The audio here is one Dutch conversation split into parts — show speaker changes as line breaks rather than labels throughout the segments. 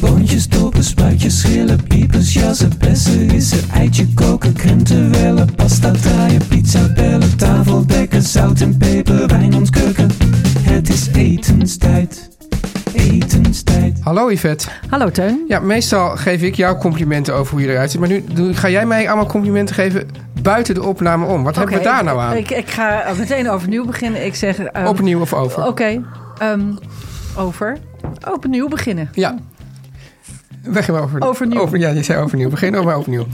Boontjes, dopen, spuitjes, schillen, piepers, jassen, bessen, rissen, eitje koken, krenten wellen, pasta draaien, pizza bellen, tafel dekken, zout en peper, wijn ontkurken. Het is etenstijd, etenstijd.
Hallo Yvette.
Hallo Teun.
Ja, meestal geef ik jou complimenten over hoe je eruit ziet. Maar nu doe- ga jij mij allemaal complimenten geven buiten de opname om. Wat hebben we
Oké,
daar nou aan?
Ik, ik ga meteen overnieuw beginnen. Ik zeg... ehm,
Opnieuw of over?
Oké. ehm, over. Opnieuw beginnen.
Ja. Weg en over.
Overnieuw.
Over, ja, je zei overnieuw. Begin over overnieuw.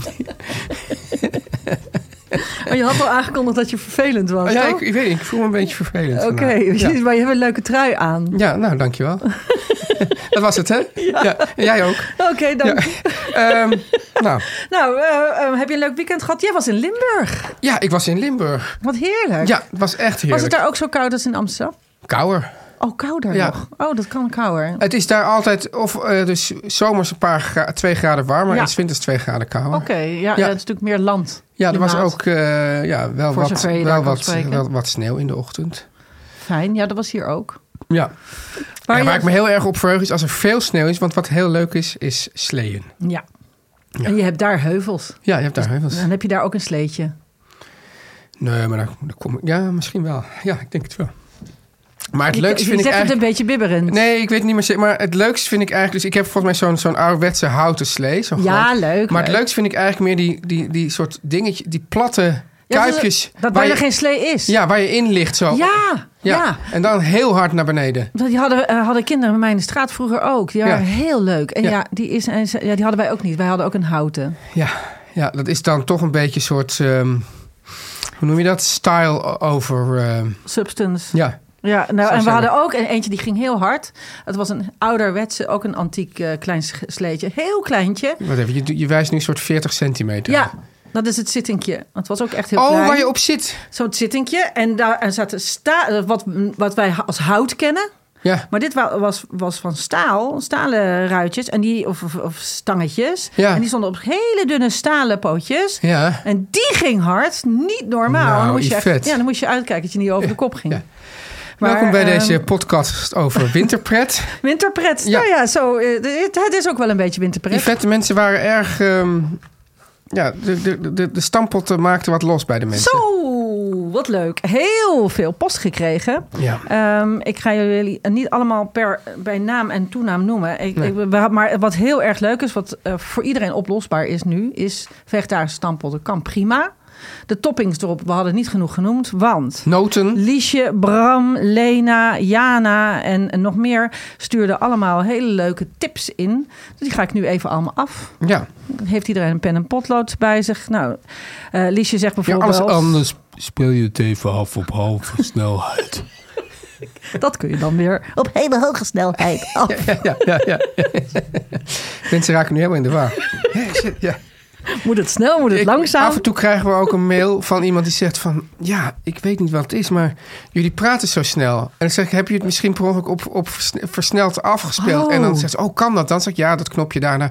Maar Oh, je had al aangekondigd dat je vervelend was.
ja, ik,
toch?
ik weet niet. Ik voel me een beetje vervelend.
Oké,
vandaag. Ja.
maar je hebt een leuke trui aan.
ja, nou, dankjewel. Dat was het, hè? Ja. En jij ook.
Oké, dank.
Ehm, nou,
Nou, eh, eh, heb je een leuk weekend gehad? Jij was in Limburg.
ja, ik was in Limburg.
Wat heerlijk.
Ja, het was echt heerlijk.
Was het daar ook zo koud als in Amsterdam?
Kouder.
Oh, kouder
Ja.
nog. Oh, dat kan kouder. Oké.
Het is daar altijd, of eh, dus zomers een paar gra- twee graden warmer
Ja.
en 's winters twee graden kouder.
ja, ja, het is natuurlijk meer land.
Ja, er was
Klimaat.
ook eh, ja, wel,
Voor
wat,
zover je daar
wel,
kan
wat,
spreken.
wel wat sneeuw in de ochtend.
Fijn, ja, dat was hier ook.
Ja.
Maar
En
je-
waar ik me heel erg op verheug is als er veel sneeuw is. Want wat heel leuk is, is sleeën.
Ja. En je hebt daar heuvels.
Ja, je hebt daar heuvels.
Dan heb je daar ook een sleetje.
Nee, maar daar, daar kom ik... Ja, misschien wel. Ja, ik denk het wel. Maar het
Je-
leukste
je
vind ik
zegt het
eigenlijk...
een beetje bibberend.
Nee, ik weet het niet meer zeker. Maar het leukste vind ik eigenlijk... Dus ik heb volgens mij zo'n zo'n ouderwetse houten slee. Zo
Ja,
groot.
leuk,
Maar het
leuk.
leukste vind ik eigenlijk meer die, die, die soort dingetje... Die platte
Ja, dat-
kuipjes.
Dat
waar
bijna
je,
geen slee is.
Ja, waar je in ligt zo.
ja. ja.
En dan heel hard naar beneden.
Dat die hadden, eh, hadden kinderen bij mij in de straat vroeger ook. Die waren
Ja.
heel leuk. En
Ja.
ja, die, is, en ze- ja, die hadden wij ook niet. Wij hadden ook een houten.
Ja, ja, dat is dan toch een beetje een soort. ehm, hoe noem je dat? Style o- over. ehm,
Substance.
ja.
Ja, nou, en
zijn
we
we.
hadden ook een, eentje die ging heel hard. Het was een ouderwetse, ook een antiek eh, klein s- sleetje. Heel kleintje.
Wat even, je, do- je wijst nu een soort 40 centimeter.
Ja, dat is het zittinkje. Het was ook echt heel
Oh,
klein.
waar je op zit.
Zo'n zittinkje. En daar en zaten sta wat, wat wij ha- als hout kennen.
Ja.
Maar dit wa- was, was van staal, stalen ruitjes en die, of, of, of stangetjes.
Ja.
En die stonden op hele dunne stalen pootjes.
Ja.
En die ging hard, niet normaal.
Nou,
dan, moest je echt-
Yvette.
ja, dan moest je uitkijken dat je niet over de kop ging.
ja.
Maar,
Welkom bij
ehm,
deze podcast over winterpret.
Winterpret,
Ja.
nou ja, zo, eh, de- het, het is ook wel een beetje
Die
winterpret.
vette mensen waren erg. ehm, ja, de, de, de, de stampotten maakten wat los bij de mensen.
Zo, wat leuk. Heel veel post gekregen.
Ja.
Ehm, ik ga jullie niet allemaal per, bij naam en toenaam noemen. Ik, ik, we- maar wat heel erg leuk is, wat eh, voor iedereen oplosbaar is nu, is vegetarische stamppot. Kan prima. De toppings erop, we hadden niet genoeg genoemd, want...
Noten.
Liesje, Bram, Lena, Jana en, en nog meer stuurden allemaal hele leuke tips in. Dus die ga ik nu even allemaal af.
Ja.
Heeft iedereen een pen en potlood bij zich? Nou, eh, Liesje zegt
ja
bijvoorbeeld...
alles anders.
speel je het even half op halve snelheid.
Dat kun je dan weer op hele hoge snelheid af.
Ja, ja, ja. mensen raken nu helemaal in de war. Ja, shit, ja.
Moet het snel, moet het
Ik-
langzaam?
Af en toe krijgen we ook een mail van iemand die zegt van... ja, ik weet niet wat het is, maar jullie praten zo snel. En dan zeg ik, heb je het misschien per ongeluk op, op versne- versneld afgespeeld?
Oh.
En dan zegt ze, oh, kan dat? Dan zeg ik, ja, dat knopje daarna.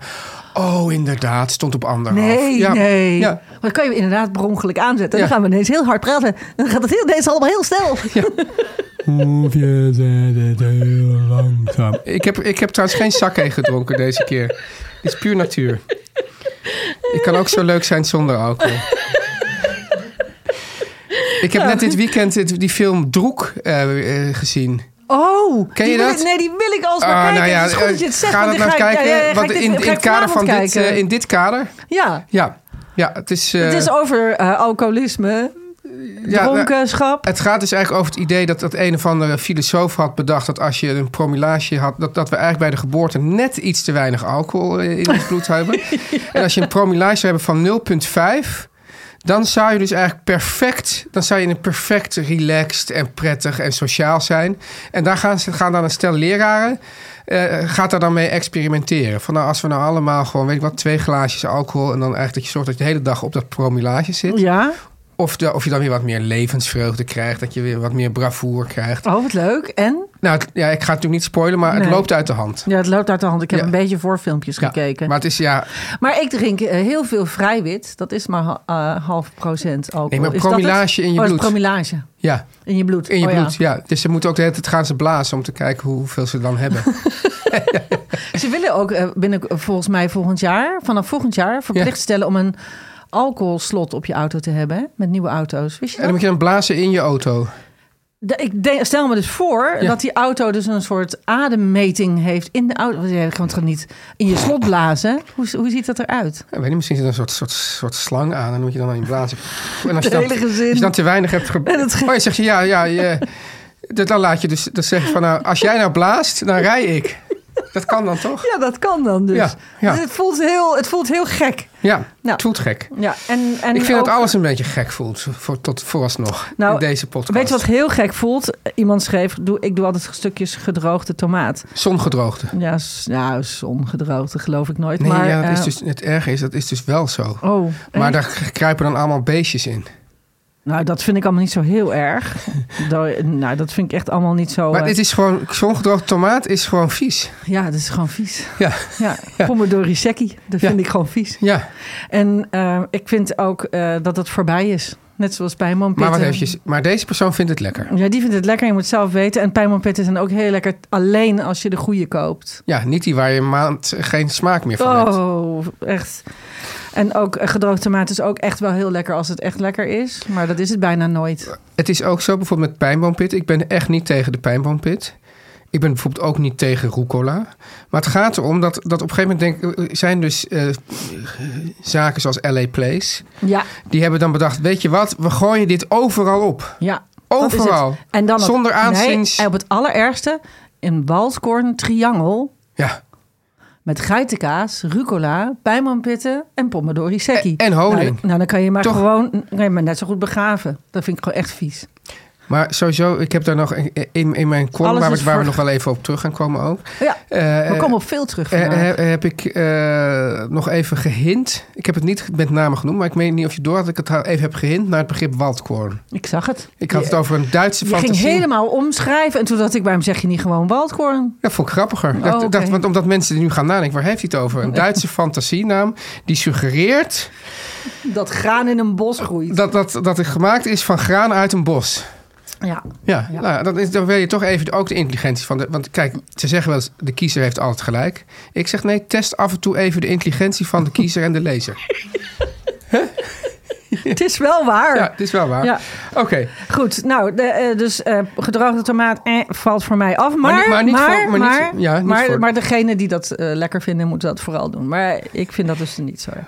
Oh, inderdaad, stond op anderhalf.
Nee,
ja,
nee.
Ja,
Maar dan kan je inderdaad per ongelk aanzetten. En
Ja.
dan gaan we ineens heel hard praten. Dan gaat het heel, ineens allemaal heel snel.
Hoef je het heel langzaam.
ik, heb, ik heb trouwens geen zakké gedronken deze keer. Het is puur natuur. Ik kan ook zo leuk zijn zonder alcohol. Ik
Nou.
heb net dit weekend dit- die film Droek eh, eh, gezien.
Oh,
Ken je
die wil
dat?
ik- nee, die wil ik alsmaar
Ah,
kijken.
nou ja,
het is goed dat je het
eh,
zegt.
Ga
want
dat
dan
nou eens
ga ik-
kijken.
ja, ja, ja, ga
want
ik dit-
in,
ga
in
ik
het kader van
vanavond
dit,
kijken.
eh, in dit kader.
ja,
Ja, ja het is. eh,
het is over eh, alcoholisme.
ja, nou-
Dronkenschap.
Het gaat dus eigenlijk over het idee dat dat een of andere filosoof had bedacht dat als je een promillage had, dat, dat we eigenlijk bij de geboorte net iets te weinig alcohol eh, in ons bloed hebben. En als je een promillage zou hebben van 0,5, dan zou je dus eigenlijk perfect, dan zou je een perfect relaxed en prettig en sociaal zijn. En daar gaan, ze- gaan dan een stel leraren, eh, gaat daar dan mee experimenteren. Van nou, als we nou allemaal gewoon, weet ik wat, twee glaasjes alcohol en dan eigenlijk dat je zorgt dat je de hele dag op dat promillage zit.
Ja.
Of, de- of je dan weer wat meer levensvreugde krijgt. Dat je weer wat meer bravoer krijgt.
Oh, wat leuk. En?
Nou, het- ja, ik ga het natuurlijk niet spoilen, maar
Nee.
het loopt uit de hand.
Ja, het loopt uit de hand. Ik heb
Ja.
een beetje voorfilmpjes
Ja,
gekeken.
Maar het is ja.
Maar ik drink eh, heel veel vrijwit. Dat is maar ha- eh, half procent alcohol.
Nee, maar
Is dat het?
promillage in je
Oh, dat is
bloed.
promillage.
ja
In je bloed.
in je
Oh, ja.
bloed. Ja. Dus ze moeten ook de hele tijd gaan ze blazen om te kijken hoeveel ze dan hebben.
Ze willen ook eh, binnen, volgens mij volgend jaar, vanaf volgend jaar, verplicht
Ja.
stellen om een alcoholslot op je auto te hebben. hè, Met nieuwe auto's. Wist je
en dan
dat?
moet je dan blazen in je auto.
De- ik de- stel me dus voor
Ja.
dat die auto dus een soort ademmeting heeft in de auto. Want je kan het gewoon niet in je slot blazen. Hoe, hoe ziet dat eruit?
Ja, weet niet, misschien zit er een soort, soort, soort slang aan. En dan moet je dan aan je blazen. En als je, dan,
hele gezin.
als je dan te weinig hebt ge-
En het ge-
Oh, je zegt ja, ja. Je, dat- dan laat je dus. Dan zeg je van nou, als jij nou blaast, dan rij ik. Dat kan dan toch?
Ja, dat kan dan dus.
Ja, ja.
Het, voelt heel, het voelt heel gek.
Ja,
Nou.
het voelt gek.
Ja, en, en
ik vind
ook-
dat alles een beetje gek voelt voor, tot vooralsnog
Nou,
in deze podcast.
Weet je wat heel gek voelt? Iemand schreef, doe, ik doe altijd stukjes gedroogde tomaat.
Zongedroogte.
Ja, s- nou, zongedroogde geloof ik nooit.
Nee,
maar,
ja, dat
eh,
is dus, het erge is, dat is dus wel zo.
Oh,
maar
maar
daar kruipen dan allemaal beestjes in.
nou, dat vind ik allemaal niet zo heel erg. Daar- nou, dat vind ik echt allemaal niet zo...
maar
eh,
dit is gewoon, zongedroogde tomaat is gewoon vies.
Ja, dat is gewoon vies.
Ja,
Ja,
Ja.
pomodori secchi, dat
Ja.
vind ik gewoon vies.
ja.
En eh, ik vind ook eh, dat het voorbij is. Net zoals pijnmanpitten.
Maar, wat eventjes, maar deze persoon vindt het lekker.
Ja, die vindt het lekker. Je moet het zelf weten. En pijnmanpitten zijn ook heel lekker alleen als je de goede koopt.
Ja, niet die waar je een maand geen smaak meer van hebt.
Oh, echt. En ook eh, gedroogde tomaat is ook echt wel heel lekker als het echt lekker is. Maar dat is het bijna nooit.
Het is ook zo bijvoorbeeld met pijnboompit. Ik ben echt niet tegen de pijnboompit. Ik ben bijvoorbeeld ook niet tegen rucola. Maar het gaat erom dat, dat op een gegeven moment denk, ik, er zijn dus eh, zaken zoals LA Place.
Ja,
Die hebben dan bedacht, weet je wat, we gooien dit overal op.
ja. dat is
Overal.
het. En dan
Zonder
het,
aanziens.
Nee, en op het allerergste een waldkorn triangel
Ja.
met geitenkaas, rucola, pijnmanpitten en pomodori secchi.
En- en honing.
Nou, nou, dan kan je maar
Toch?
gewoon kan je maar net zo goed begraven. Dat vind ik gewoon echt vies.
Maar sowieso, ik heb daar nog een- in, in mijn column,
Alles
waar, we-
is
waar we
voor-
nog wel even op terug gaan komen ook.
Ja,
Eh,
we
eh,
komen op veel terug
eh,
vandaag.
heb- heb ik eh, nog even gehint. Ik heb het niet met name genoemd, maar ik meen niet of je door had dat ik het ha- even heb gehint naar het begrip waldkorn.
ik zag het.
Ik had
Je-
het over een Duitse
je ging
fantasie.
helemaal omschrijven en toen dacht ik bij hem zeg je niet gewoon waldkorn.
Dat vond ik grappiger. Dat,
Oh, oké. Oh.
dat- want omdat mensen er nu gaan nadenken, waar heeft hij het over? Een Duitse fantasienaam die suggereert
Dat graan in een bos groeit.
dat, dat, dat het gemaakt is van graan uit een bos.
Ja,
Ja,
Ja.
Nou, dan, is, dan wil je toch even ook de intelligentie van de. Want kijk, ze zeggen wel eens: de kiezer heeft altijd gelijk. Ik zeg nee, test af en toe even de intelligentie van de kiezer en de lezer.
het is wel waar.
Ja, het is wel waar.
Ja.
Oké,
Goed, nou, de, eh, dus eh, gedroogde tomaat eh, valt voor mij af. Maar,
Maar niet- maar niet voor- maar niet-
maar,
ja, niet
maar,
voor-
maar degene die dat eh, lekker vinden, moeten dat vooral doen. Maar ik vind dat dus niet zo. erg.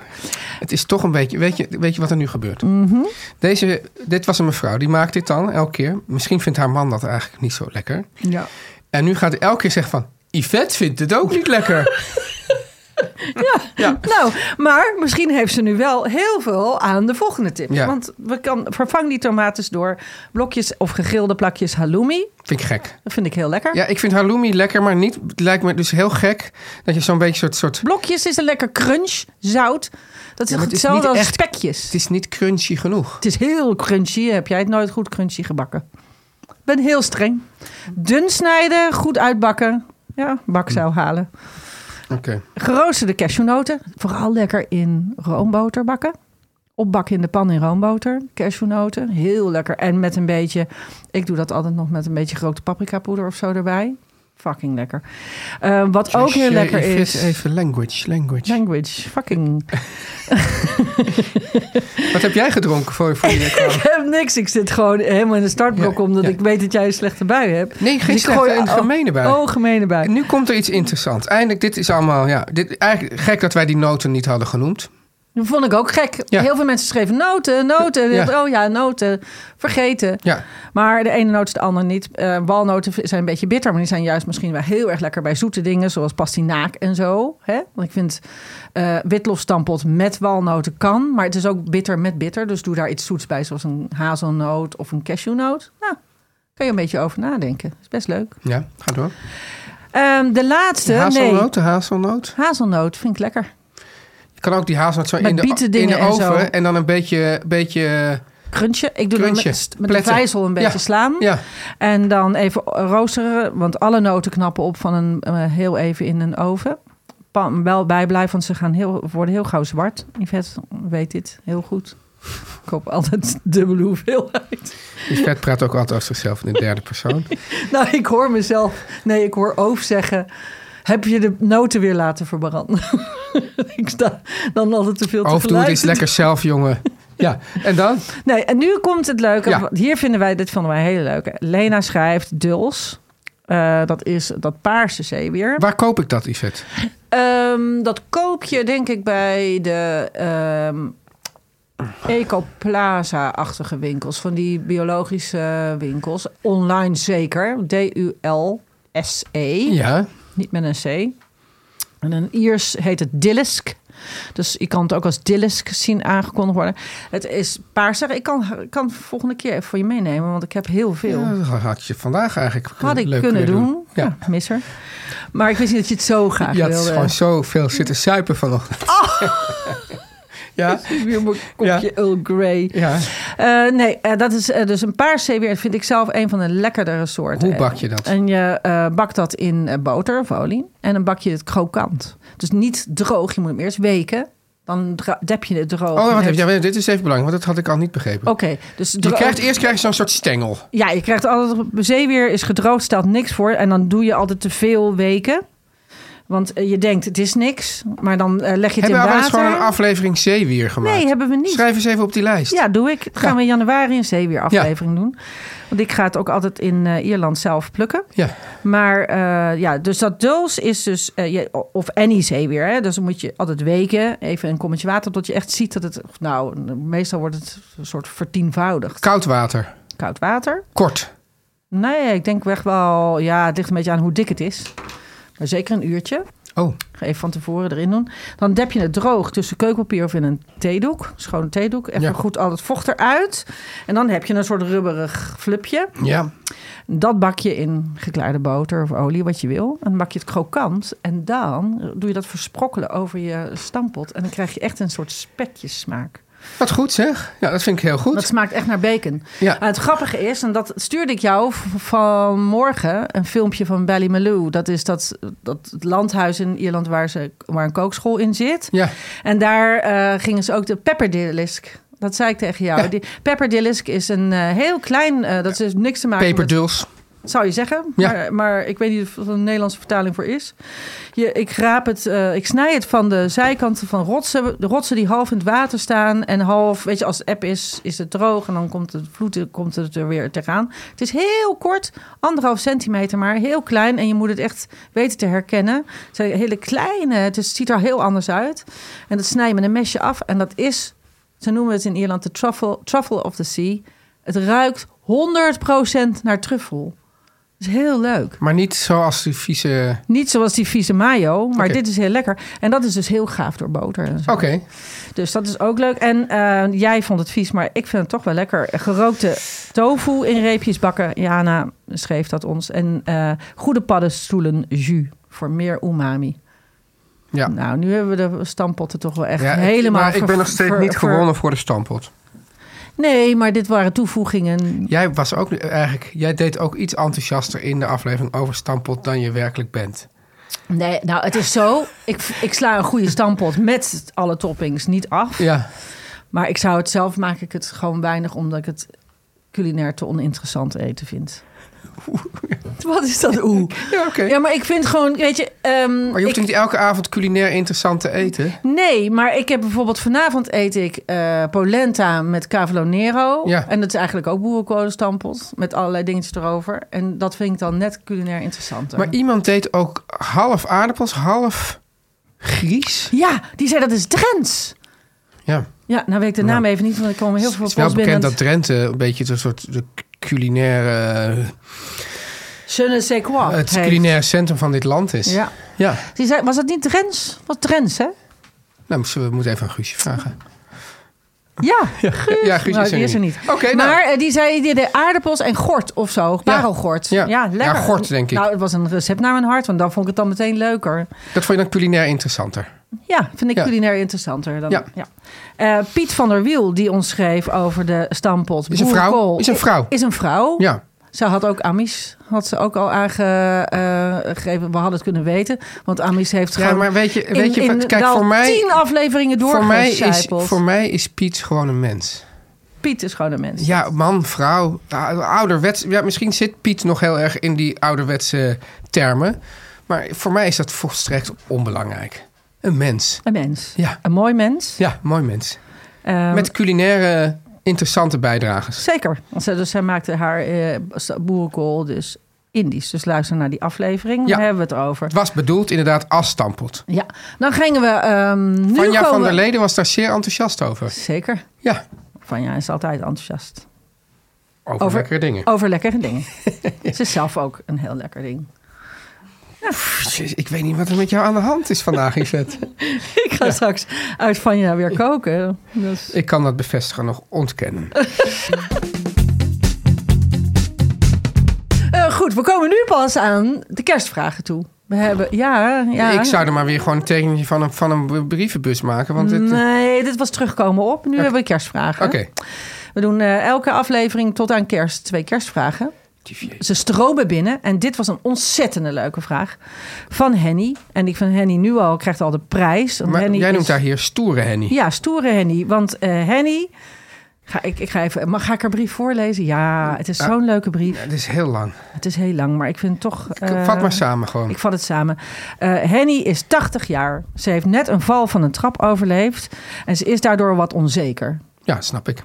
het is toch een beetje. Weet je, weet je wat er nu gebeurt?
Mhm.
Deze, dit was een mevrouw, die maakt dit dan elke keer. Misschien vindt haar man dat eigenlijk niet zo lekker.
Ja.
En nu gaat hij elke keer zeggen: van, Yvette vindt het ook niet lekker.
Nou, maar misschien heeft ze nu wel heel veel aan de volgende tip.
Ja.
Want we kan, vervang die tomaten door blokjes of gegrilde plakjes halloumi.
Vind ik gek.
Dat vind ik heel lekker.
Ja, ik vind halloumi lekker, maar niet. Het lijkt me dus heel gek dat je zo'n beetje soort. soort
Blokjes is een lekker crunch, zout. Dat is
maar het is niet
hetzelfde als
echt-
spekjes.
het is niet crunchy genoeg.
Het is heel crunchy. Heb jij het nooit goed crunchy gebakken? Ik ben heel streng. Dun snijden, goed uitbakken. Ja, bakzuil halen.
Oké.
Geroosterde cashewnoten. Vooral lekker in roomboter bakken. Opbakken in de pan in roomboter. Cashewnoten. Heel lekker. En met een beetje... Ik doe dat altijd nog met een beetje grote paprikapoeder of zo erbij. Fucking lekker. Eh, wat ook heel
Dus, eh,
lekker
Yvette,
is...
Even language, language.
Language. Fucking...
Wat heb jij gedronken voor, voor je kwam?
Ik heb niks. Ik zit gewoon helemaal in de startblok
Ja,
omdat
ja.
ik weet dat jij een slechte bui hebt. Dus
Nee, geen
ik
slechte,
gooi-
een gemene bui.
Oh, gemene bui.
En nu komt er iets interessants. Eindelijk, dit is allemaal, ja, dit, eigenlijk gek dat wij die noten niet hadden genoemd.
Dat vond ik ook gek.
Ja.
Heel veel mensen schreven noten, noten.
Ja.
Ik dacht, Oh ja, noten. Vergeten.
Ja.
Maar de ene noot is de ander niet. Eh, walnoten zijn een beetje bitter, maar die zijn juist misschien wel heel erg lekker bij zoete dingen, zoals pastinaak en zo. Hè? Want ik vind eh witlofstampot met walnoten kan, maar het is ook bitter met bitter. Dus doe daar iets zoets bij, zoals een hazelnoot of een cashewnoot. Nou, kun je een beetje over nadenken. Is best leuk.
Ja, ga door.
Ehm, de laatste,
De hazelnoot,
nee.
de hazelnoot.
Hazelnoot vind ik lekker.
Je kan ook die hazelnoot zo
Met
in de, in
bietendingen
de
en zo.
oven en, dan een beetje... beetje
Crunchen. Ik doe dan
Crunchen,
met, met de
pletten.
vijzel een beetje
Ja,
slaan.
ja.
En dan even roosteren. Want alle noten knappen op van een eh, heel even in een oven. Pan, wel bijblijven, want ze gaan heel, worden heel gauw zwart. Yvette weet dit heel goed. Ik koop altijd dubbele hoeveelheid.
die vet praat ook altijd over zichzelf in de derde persoon.
Nou, ik hoor mezelf... Nee, ik hoor Oof zeggen... Heb je de noten weer laten verbranden? ik sta dan altijd te veel te
Over doe het eens
verleiden.
lekker zelf, jongen. Ja, en dan?
Nee, en nu komt het leuke.
Ja.
Want Hier vinden wij, dit vonden wij heel leuk. Lena schrijft Duls. Eh, dat is dat paarse zeewier.
Waar koop ik dat, Yvette?
Ehm, dat koop je denk ik bij de ehm Ecoplaza-achtige winkels. Van die biologische winkels. Online zeker. D-U-L-S-E.
Ja,
Niet met een C. En een Iers heet het Dillisk. Dus je kan het ook als Dillisk zien aangekondigd worden. Het is paars. Ik kan, ik kan het volgende keer even voor je meenemen, want ik heb heel veel.
Ja, dat had je vandaag eigenlijk
Had ik
leuk
kunnen doen. Ja.
Ja.
misser. Maar ik wist niet dat je het zo graag
Je had
wilde.
gewoon zoveel zitten suipen vanochtend.
Oh.
ja,
Weer mijn kopje Earl Grey.
ja.
Eh, nee, eh, dat is eh, dus een paars zeewier. vind ik zelf een van de lekkerdere soorten.
Hoe bak je dat?
En je eh, bakt dat in eh, boter of olie. En dan bak je het krokant. Dus niet droog. Je moet hem eerst weken. Dan dra- dep je het droog.
Oh,
Dan
wacht
heeft-
even. Ja, dit is even belangrijk, want dat had ik al niet begrepen.
Oké, dus
Je
dro-
krijgt, eerst krijg je zo'n soort stengel.
ja, je krijgt altijd zeewier is gedroogd, stelt niks voor en dan doe je altijd te veel weken, want eh, je denkt het is niks, maar dan eh, leg je het
Hebben we
in
al eens
water.
gewoon een aflevering zeewier gemaakt?
nee, hebben we niet.
Schrijf eens even op die lijst.
Ja, doe ik. Dan gaan
Ja.
we in januari een zeewieraflevering doen. Want ik ga het ook altijd in eh, Ierland zelf plukken.
Ja.
Maar eh, ja, dus dat duls is dus, eh, je, of any zeewier, hè, dus dan moet je altijd weken, even een kommetje water, tot je echt ziet dat het, nou, meestal wordt het een soort vertienvoudigd.
Koud water.
Koud water.
Kort.
Nee, ik denk echt wel, ja, het ligt een beetje aan hoe dik het is. Maar zeker een uurtje.
Oh,
Ga Even van tevoren erin doen. Dan dep je het droog tussen keukenpapier of in een theedoek. Schone theedoek. Even
Ja.
goed al het vocht eruit. En dan heb je een soort rubberig flupje.
ja.
Dat bak je in geklaarde boter of olie, wat je wil. En dan bak je het krokant. En dan doe je dat versprokkelen over je stampot. En dan krijg je echt een soort spekjessmaak.
Wat goed zeg. Ja, dat vind ik heel
Dat
goed.
smaakt echt naar bacon.
Ja.
En het grappige is, en dat stuurde ik jou v- vanmorgen, een filmpje van Ballymaloo. Dat is dat, dat landhuis in Ierland waar, ze, waar een kookschool in zit.
Ja.
En daar eh, gingen ze ook de pepperdillisk. Dat zei ik tegen jou.
Ja.
Die pepperdillisk is een eh, heel klein, eh, dat is niks te maken met
Peperduls.
zou je zeggen.
Ja.
Maar, maar ik weet niet of er een Nederlandse vertaling voor is. Je, ik raap het, eh, ik snij het van de zijkanten van rotsen. De rotsen die half in het water staan en half, weet je, als het app is, is het droog en dan komt de vloed komt het er weer tegenaan. Het is heel kort, anderhalf centimeter maar, heel klein en je moet het echt weten te herkennen. Het zijn hele kleine, het is- ziet er heel anders uit. En dat snij je met een mesje af en dat is, ze noemen het in Ierland de truffle, truffle of the sea. Het ruikt 100% naar truffel. Dat is heel leuk.
Maar niet zoals die vieze...
Niet zoals die vieze mayo, maar
Oké.
dit is heel lekker. En dat is dus heel gaaf door boter. En zo.
Oké.
Dus dat is ook leuk. En eh, jij vond het vies, maar ik vind het toch wel lekker. Gerookte tofu in reepjes bakken. Jana schreef dat ons. En eh, goede paddenstoelen jus voor meer umami.
Ja.
Nou, nu hebben we de stampotten toch wel echt
ja, ik-
helemaal...
maar ik
ver-
ben nog steeds
ver-
niet
ver-
gewonnen voor de stampot.
Nee, maar dit waren toevoegingen.
Jij was ook eh, eigenlijk... Jij deed ook iets enthousiaster in de aflevering over stampot dan je werkelijk bent.
Nee, nou, het is zo. Ik, ik sla een goede stampot met alle toppings niet af.
Ja.
Maar ik zou het zelf maak ik het gewoon weinig omdat ik het culinair te oninteressant eten vind. Wat is dat oeh?
Ja, oké.
Ja, maar ik vind gewoon, weet je, ehm,
Maar je hoeft
ik-
niet elke avond culinair interessant te eten.
nee, maar ik heb bijvoorbeeld vanavond eet ik eh, polenta met cavolo nero
Ja.
en dat is eigenlijk ook boerenkolenstampot met allerlei dingetjes erover en dat vind ik dan net culinair interessanter.
Maar iemand deed ook half aardappels, half Gries.
ja, die zei dat is Drents.
Ja.
Ja, nou weet ik de naam even niet, want ik kwam heel veel
Het is wel
post binnen.
bekend dat Drenthe een beetje een soort de culinaire,
Je ne sais quoi
eh, het
heet.
culinaire centrum van dit land is.
Oh, Ja.
ja.
Die zei, was dat niet Drens? Was Drens, hè?
Nou, we moeten even aan Guusje vragen.
Ja, Guus.
Ja, Guus
Nou,
is er
die is er
niet.
niet.
Oké, nou.
maar eh, die zei die de aardappels en gort of zo. Parelgort.
Ja.
Ja,
Ja,
lekker.
gort, denk ik.
Nou, het was een recept naar mijn hart, want dan vond ik het dan meteen leuker.
Dat vond je dan culinair interessanter.
Ja, vind ik
Ja.
culinair interessanter. Dan,
Ja.
ja. Eh, Piet van der Wiel, die ons schreef over de stampot.
Is een vrouw? Is een vrouw?
Is een vrouw.
Ja.
Ze had ook Amis, had ze ook al aangegeven. We hadden het kunnen weten, want Amis heeft
Ja,
gewoon...
maar weet je- weet
in-
je
in
wat- kijk,
wel
voor mij-
tien afleveringen
Voor mij, is,
doorgecijpeld.
voor mij is Piet gewoon een mens.
Piet is gewoon een mens.
Ja, man, vrouw, ou- ouderwets. Ja, misschien zit Piet nog heel erg in die ouderwetse termen. Maar voor mij is dat volstrekt onbelangrijk. Een mens.
Een mens.
Ja.
Een mooi mens.
Ja, mooi mens.
Ehm,
Met culinaire interessante bijdrages.
Zeker. Want zij, dus zij maakte haar eh, boerenkool dus Indisch. Dus luister naar die aflevering.
Ja.
Daar hebben we het over.
Het was bedoeld inderdaad als stampot.
Ja. Dan gingen we... ehm nu
Vanja
komen
van
we-
der Leden was daar zeer enthousiast over.
Zeker.
Ja,
Vanja is altijd enthousiast.
over, lekkere dingen.
Over Oh, lekkere dingen. Ze is zelf ook een heel lekker ding.
Jezus, Ik weet niet wat er met jou aan de hand is vandaag, Yvette.
Ik ga straks uit Vanja weer koken. Dus.
Ik kan dat bevestigen, nog ontkennen.
Eh, goed, we komen nu pas aan de kerstvragen toe. We hebben... Ja, ja.
Ik zou er maar weer gewoon een tekentje van een, van een brievenbus maken. Want het, eh,
Nee, dit was terugkomen op. Nu hebben we kerstvragen.
Oké.
We doen eh, elke aflevering tot aan kerst twee kerstvragen. Ze stromen binnen. En dit was een ontzettende leuke vraag van Henny. En ik vind Henny nu al, krijgt al de prijs. Want
Maar
Henny
jij
is-
noemt daar hier stoere Henny.
Ja, stoere Henny. Want eh, Henny... Ga ik, ik ga even... Mag ga ik haar brief voorlezen? Ja, het is zo'n leuke brief.
Het is heel lang.
Het is heel lang, maar ik vind het toch... eh,
Vat maar samen gewoon.
ik vat het samen. Eh, Henny is 80 jaar. Ze heeft net een val van een trap overleefd. En ze is daardoor wat onzeker.
Ja, snap ik.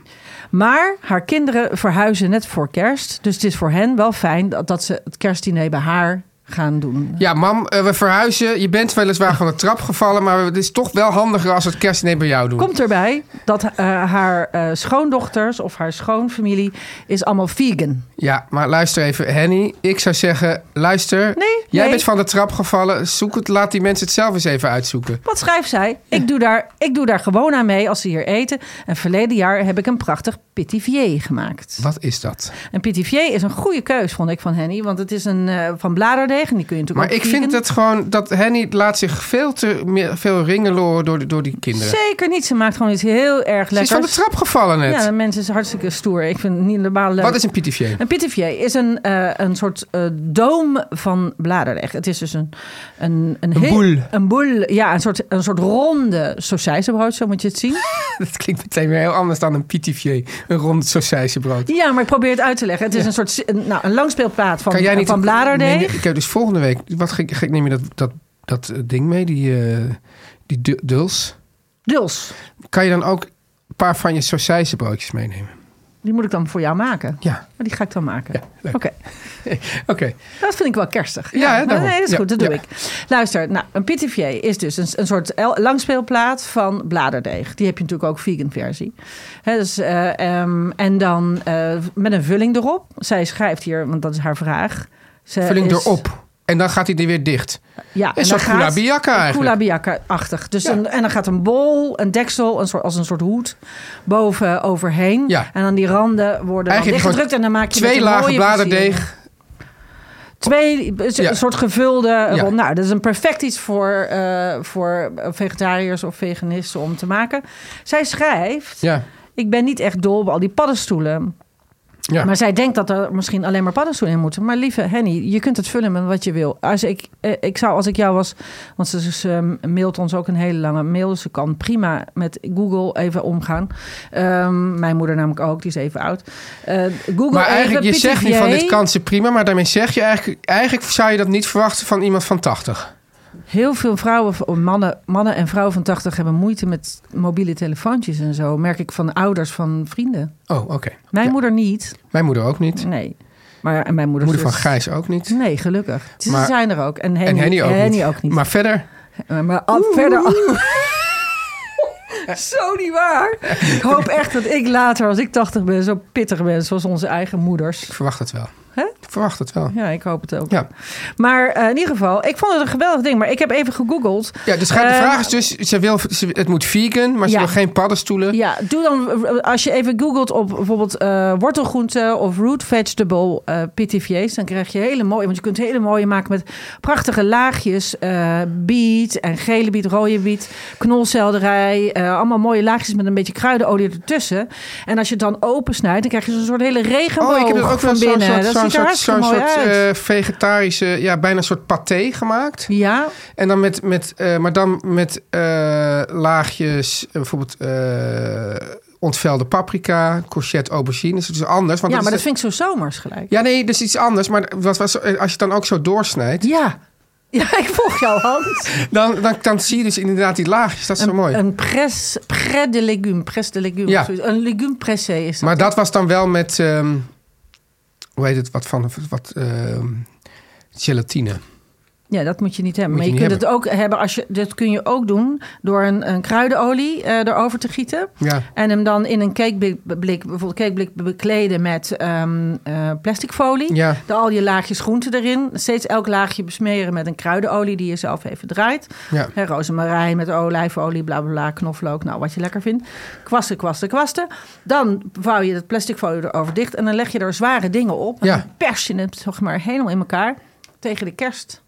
Maar haar kinderen verhuizen net voor kerst. Dus het is voor hen wel fijn dat, dat ze het kerstdiner bij haar gaan doen.
Ja, mam, eh, we verhuizen. Je bent weliswaar van de trap gevallen, maar het is toch wel handiger als we het kerstdiner bij jou doen.
Komt erbij dat eh, haar eh, schoondochters of haar schoonfamilie is allemaal vegan.
Ja, maar luister even, Henny. Ik zou zeggen, luister.
Nee,
jij
nee.
bent van de trap gevallen. Zoek het, laat die mensen het zelf eens even uitzoeken.
Wat schrijft zij? Ik doe, daar, ik doe daar gewoon aan mee als ze hier eten. En verleden jaar heb ik een prachtig pitivier gemaakt.
Wat is dat?
Een pitivier is een goede keus, vond ik van Henny. Want het is een eh, van bladerdeeg en die kun je natuurlijk
Maar
ook
ik vind
vegan.
dat gewoon dat Henny laat zich veel te meer- veel ringeloren door, die- door die kinderen.
Zeker niet. Ze maakt gewoon iets heel erg
Ze is
lekkers.
van de trap gevallen net.
Ja, de mensen is hartstikke stoer. Ik vind het niet normaal leuk.
Wat is een pitivier?
Een pitivier is een, eh, een soort eh, doom van bladerdeeg. Het is dus een... Een, een, heel-
boel.
Een boel, ja. Een soort, een soort ronde sausijzenbrood, zo moet je het zien.
Dat klinkt meteen weer heel anders dan een pitivier. Een rond sausijzenbrood.
Ja, maar ik probeer het uit te leggen. Het is een soort een, nou, een langspeelplaat van,
Kan jij niet
van bladerdeeg.
Nee, ik heb dus volgende week. Wat ga ik, ga ik- neem je dat, dat, dat eh, ding mee? Die, eh, die du- duls.
Duls.
Kan je dan ook een paar van je sausijzenbroodjes meenemen?
Die moet ik dan voor jou maken.
Ja.
Maar die ga ik dan maken.
Ja, leuk.
Oké.
Oké.
Dat vind ik wel kerstig.
Ja, hè, daarom.
nee, dat is
Ja,
goed. Dat doe
ja.
ik. Luister, nou, een pitivier is dus een, een soort el- langspeelplaat van bladerdeeg. Die heb je natuurlijk ook vegan versie. Hè, dus, eh, ehm, en dan eh, met een vulling erop. Zij schrijft hier, want dat is haar vraag. Ze
Vulling
is-
erop. En dan gaat hij er weer dicht.
Ja, en
Een soort
dan gaat-
koelabiaka eigenlijk.
Koelabiaka-achtig. Dus
Ja.
een- en dan gaat een bol, een deksel, een soort, als een soort hoed, boven overheen.
Ja.
En dan die randen worden dan
Eigenlijk
dichtgedrukt. En dan maak je met
twee
een
lagen
mooie versiering.
bladerdeeg.
Twee, een
Ja.
soort gevulde
Ja.
rond. Nou, dat is een perfect iets voor, eh, voor vegetariërs of veganisten om te maken. Zij schrijft:
Ja.
Ik ben niet echt dol op al die paddenstoelen.
Ja.
Maar zij denkt dat er misschien alleen maar paddenstoelen in moeten. Maar lieve Henny, je kunt het vullen met wat je wil. Als ik, eh, ik zou, als ik jou was, want ze, ze mailt ons ook een hele lange mail. dus Ze kan prima met Google even omgaan. Ehm, mijn moeder namelijk ook, die is even oud. Eh, Google
Maar eigenlijk,
even
je zegt nu van
PTVA.
dit kansen prima, maar daarmee zeg je eigenlijk, eigenlijk zou je dat niet verwachten van iemand van 80.
Heel veel vrouwen, of mannen, mannen en vrouwen van 80 hebben moeite met mobiele telefoontjes en zo. Merk ik van ouders van vrienden.
Oh, oké.
Mijn moeder niet.
Mijn moeder ook niet.
Nee. Maar en mijn moeder.
moeder van
zus-
Gijs ook niet.
Nee, gelukkig. Ze
Maar-
zijn er ook. Mm. En Henny,
en
Eh,
Henny ook,
Henny
niet.
ook niet.
Maar verder,
Maar, maar al- verder. al- Zo niet waar. Ik hoop echt dat ik later, als ik 80 ben, zo pittig ben zoals onze eigen moeders.
Ik verwacht het wel.
Hè?
Ik verwacht het wel.
Ja, ik hoop het ook.
Ja.
Maar eh, in ieder geval, ik vond het een geweldig ding. Maar ik heb even gegoogeld.
Ja, dus ga- de
Eh,
vraag is dus, ze wil, ze- het moet vegan, maar ze
Ja.
wil geen paddenstoelen.
Ja, doe dan eh, als je even googelt op bijvoorbeeld eh wortelgroente of root vegetable eh PTV's, dan krijg je hele mooie, want je kunt hele mooie maken met prachtige laagjes eh, biet en gele biet, rode biet, knolselderij, eh, allemaal mooie laagjes met een beetje kruidenolie ertussen. En als je het dan opensnijdt, dan krijg je zo'n soort hele regenboog
Oh, ik heb er ook wel
van
zo'n
binnen.
soort,
dat
zo'n
ziet er
soort,
hartstikke
zo'n
mooi
soort
uit.
eh, vegetarische, ja, bijna een soort paté gemaakt.
ja,
En dan met, met eh, maar dan met eh, laagjes, eh, bijvoorbeeld eh, ontvelde paprika, courgette aubergine. Dus het is anders. Want
ja, maar dat
is de-
vind ik zo zomers gelijk.
ja, nee, dus iets anders. Maar wat, wat, als je het dan ook zo doorsnijdt,
Ja, ja ik volg jou, Hans.
dan, dan, dan zie je dus inderdaad die laagjes. Dat is zo mooi.
Een pres, pres de legume, pres de legume.
Ja.
of zoiets. Een legume pressé is dat.
Maar dat was dan wel met, ehm, hoe heet het, wat van, wat, ehm, gelatine.
ja, dat moet je niet hebben.
Moet
maar
je
je,
niet
kunt het ook hebben als je. Dat kun je ook doen door een, een kruidenolie eh, erover te gieten.
Ja.
En hem dan in een cakeblik, blik- bijvoorbeeld cakeblik bekleden met ehm, eh, plastic folie.
Ja.
Daar al je laagjes groente erin. Steeds elk laagje besmeren met een kruidenolie die je zelf even draait.
Ja.
Hè, rozemarijn met olijfolie, bla bla bla, knoflook, nou wat je lekker vindt. Kwasten, kwasten, kwasten. Dan vouw je dat plastic folie erover dicht en dan leg je er zware dingen op. En
Ja.
dan pers je het zeg maar helemaal in elkaar tegen de kerst.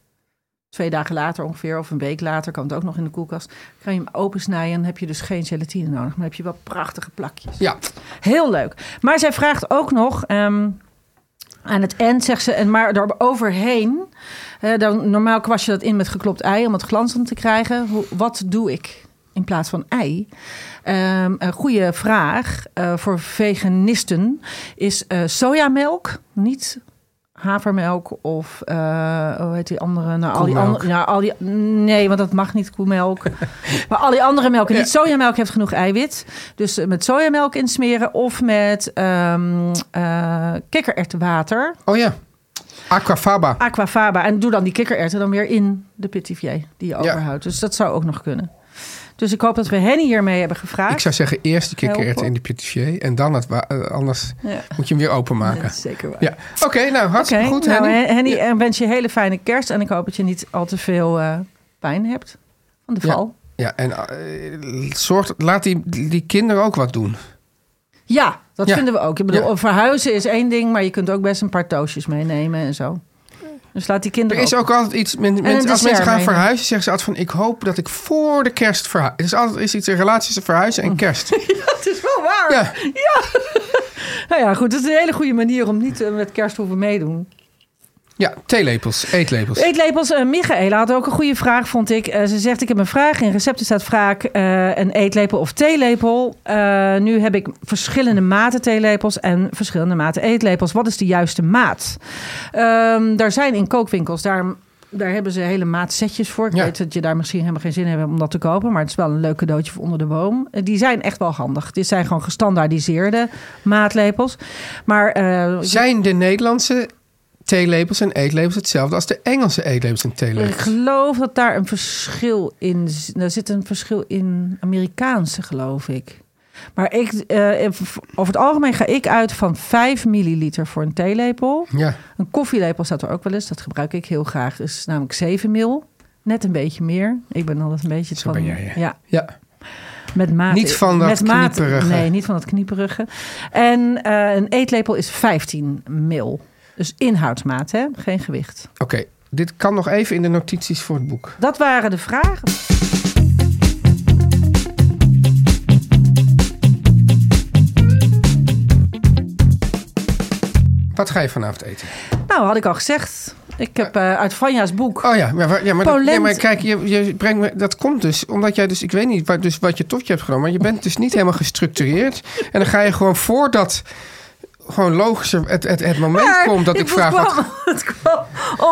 Twee dagen later ongeveer, of een week later, kan het ook nog in de koelkast. Kan je hem opensnijden en dan heb je dus geen gelatine nodig. Maar dan heb je wel prachtige plakjes.
Ja,
Heel leuk. Maar zij vraagt ook nog. ehm, aan het eind zegt ze, en maar daaroverheen. eh, dan, normaal kwast je dat in met geklopt ei om het glanzend te krijgen. Hoe- wat doe ik in plaats van ei? Ehm, een goede vraag eh, voor veganisten is eh, sojamelk. Niet havermelk of eh, hoe heet die andere? Nou, al die
Koemelk.
andere, nou, al die, nee, want dat mag niet koemelk. maar al die andere melken niet. Sojamelk heeft genoeg eiwit. Dus eh, met sojamelk insmeren of met ehm eh, kikkererwtenwater.
oh ja. Aquafaba.
Aquafaba. En doe dan die kikkererwten dan weer in de pitivier die je
Ja.
overhoudt. Dus dat zou ook nog kunnen. Dus ik hoop dat we Henny hiermee hebben gevraagd.
Ik zou zeggen, eerst de kikkererwten
Helpen.
in de pitivier en dan het wa- eh, anders
Ja.
moet je hem weer openmaken.
Dat is zeker waar.
Ja, oké, nou
Oké,
hartstikke goed,
nou,
Henny.
Hen- Henny, en wens je een hele fijne kerst. En ik hoop dat je niet al te veel eh, pijn hebt van de
Ja.
val.
Ja, en eh, zorg, laat die, die kinderen ook wat doen.
Ja, dat
Ja.
vinden we ook. Ik bedoel,
Ja.
verhuizen is één ding, maar je kunt ook best een paar toosjes meenemen en zo. Dus laat die
Er
kinderen
is ook altijd iets, men- mensen, als
dessert
mensen gaan
meenemen.
verhuizen, zeggen ze altijd van, ik hoop dat ik voor de kerst verhuis. Er is altijd is iets in relatie tussen verhuizen en kerst.
Het is wel waar.
Ja.
Nou ja, goed. Het is een hele goede manier om niet eh, met kerst te hoeven meedoen.
Ja, theelepels, eetlepels.
Eetlepels. eh Michaela had ook een goede vraag, vond ik. Eh, ze zegt, ik heb een vraag. In recepten staat vaak eh, een eetlepel of theelepel. Eh, nu heb ik verschillende maten theelepels en verschillende maten eetlepels. Wat is de juiste maat? Ehm, daar zijn in kookwinkels, daar, daar hebben ze hele maatsetjes voor. Ik
Ja.
weet dat je daar misschien helemaal geen zin in hebt om dat te kopen. Maar het is wel een leuk cadeautje voor onder de boom. Eh, Die zijn echt wel handig. Dit zijn gewoon gestandaardiseerde maatlepels. Maar eh,
Zijn de Nederlandse theelepels en eetlepels hetzelfde als de Engelse eetlepels en
Ik
theelepels?
geloof dat daar een verschil in zit. Er zit een verschil in Amerikaanse, geloof ik. Maar ik, eh, over het algemeen ga ik uit van 5 milliliter voor een theelepel.
Ja,
Een koffielepel staat er ook wel eens. Dat gebruik ik heel graag. Dat is namelijk 7 mil. Net een beetje meer. Ik ben altijd een beetje
Zo
van...
ben jij, hè?
Ja,
ja.
met maat.
Niet van dat
met maat-
knieperige.
Nee, niet van dat knieperige. En eh, een eetlepel is 15 mil. Dus inhoudsmaat, hè? geen gewicht.
Oké, dit kan nog even in de notities voor het boek.
Dat waren de vragen.
Wat ga je vanavond eten?
Nou, had ik al gezegd. Ik heb eh, uit Vanja's boek.
Oh ja, maar, wa- ja, maar, dat-
Polenta.
ja, maar kijk, je, je brengt me, dat komt dus omdat jij dus, ik weet niet wat, dus wat je tot je hebt genomen, maar je bent dus niet helemaal gestructureerd. En dan ga je gewoon voordat gewoon logischer het, het, het moment
Maar
Oh, komt dat ik
het
vraag wat,
kwam, Het kwam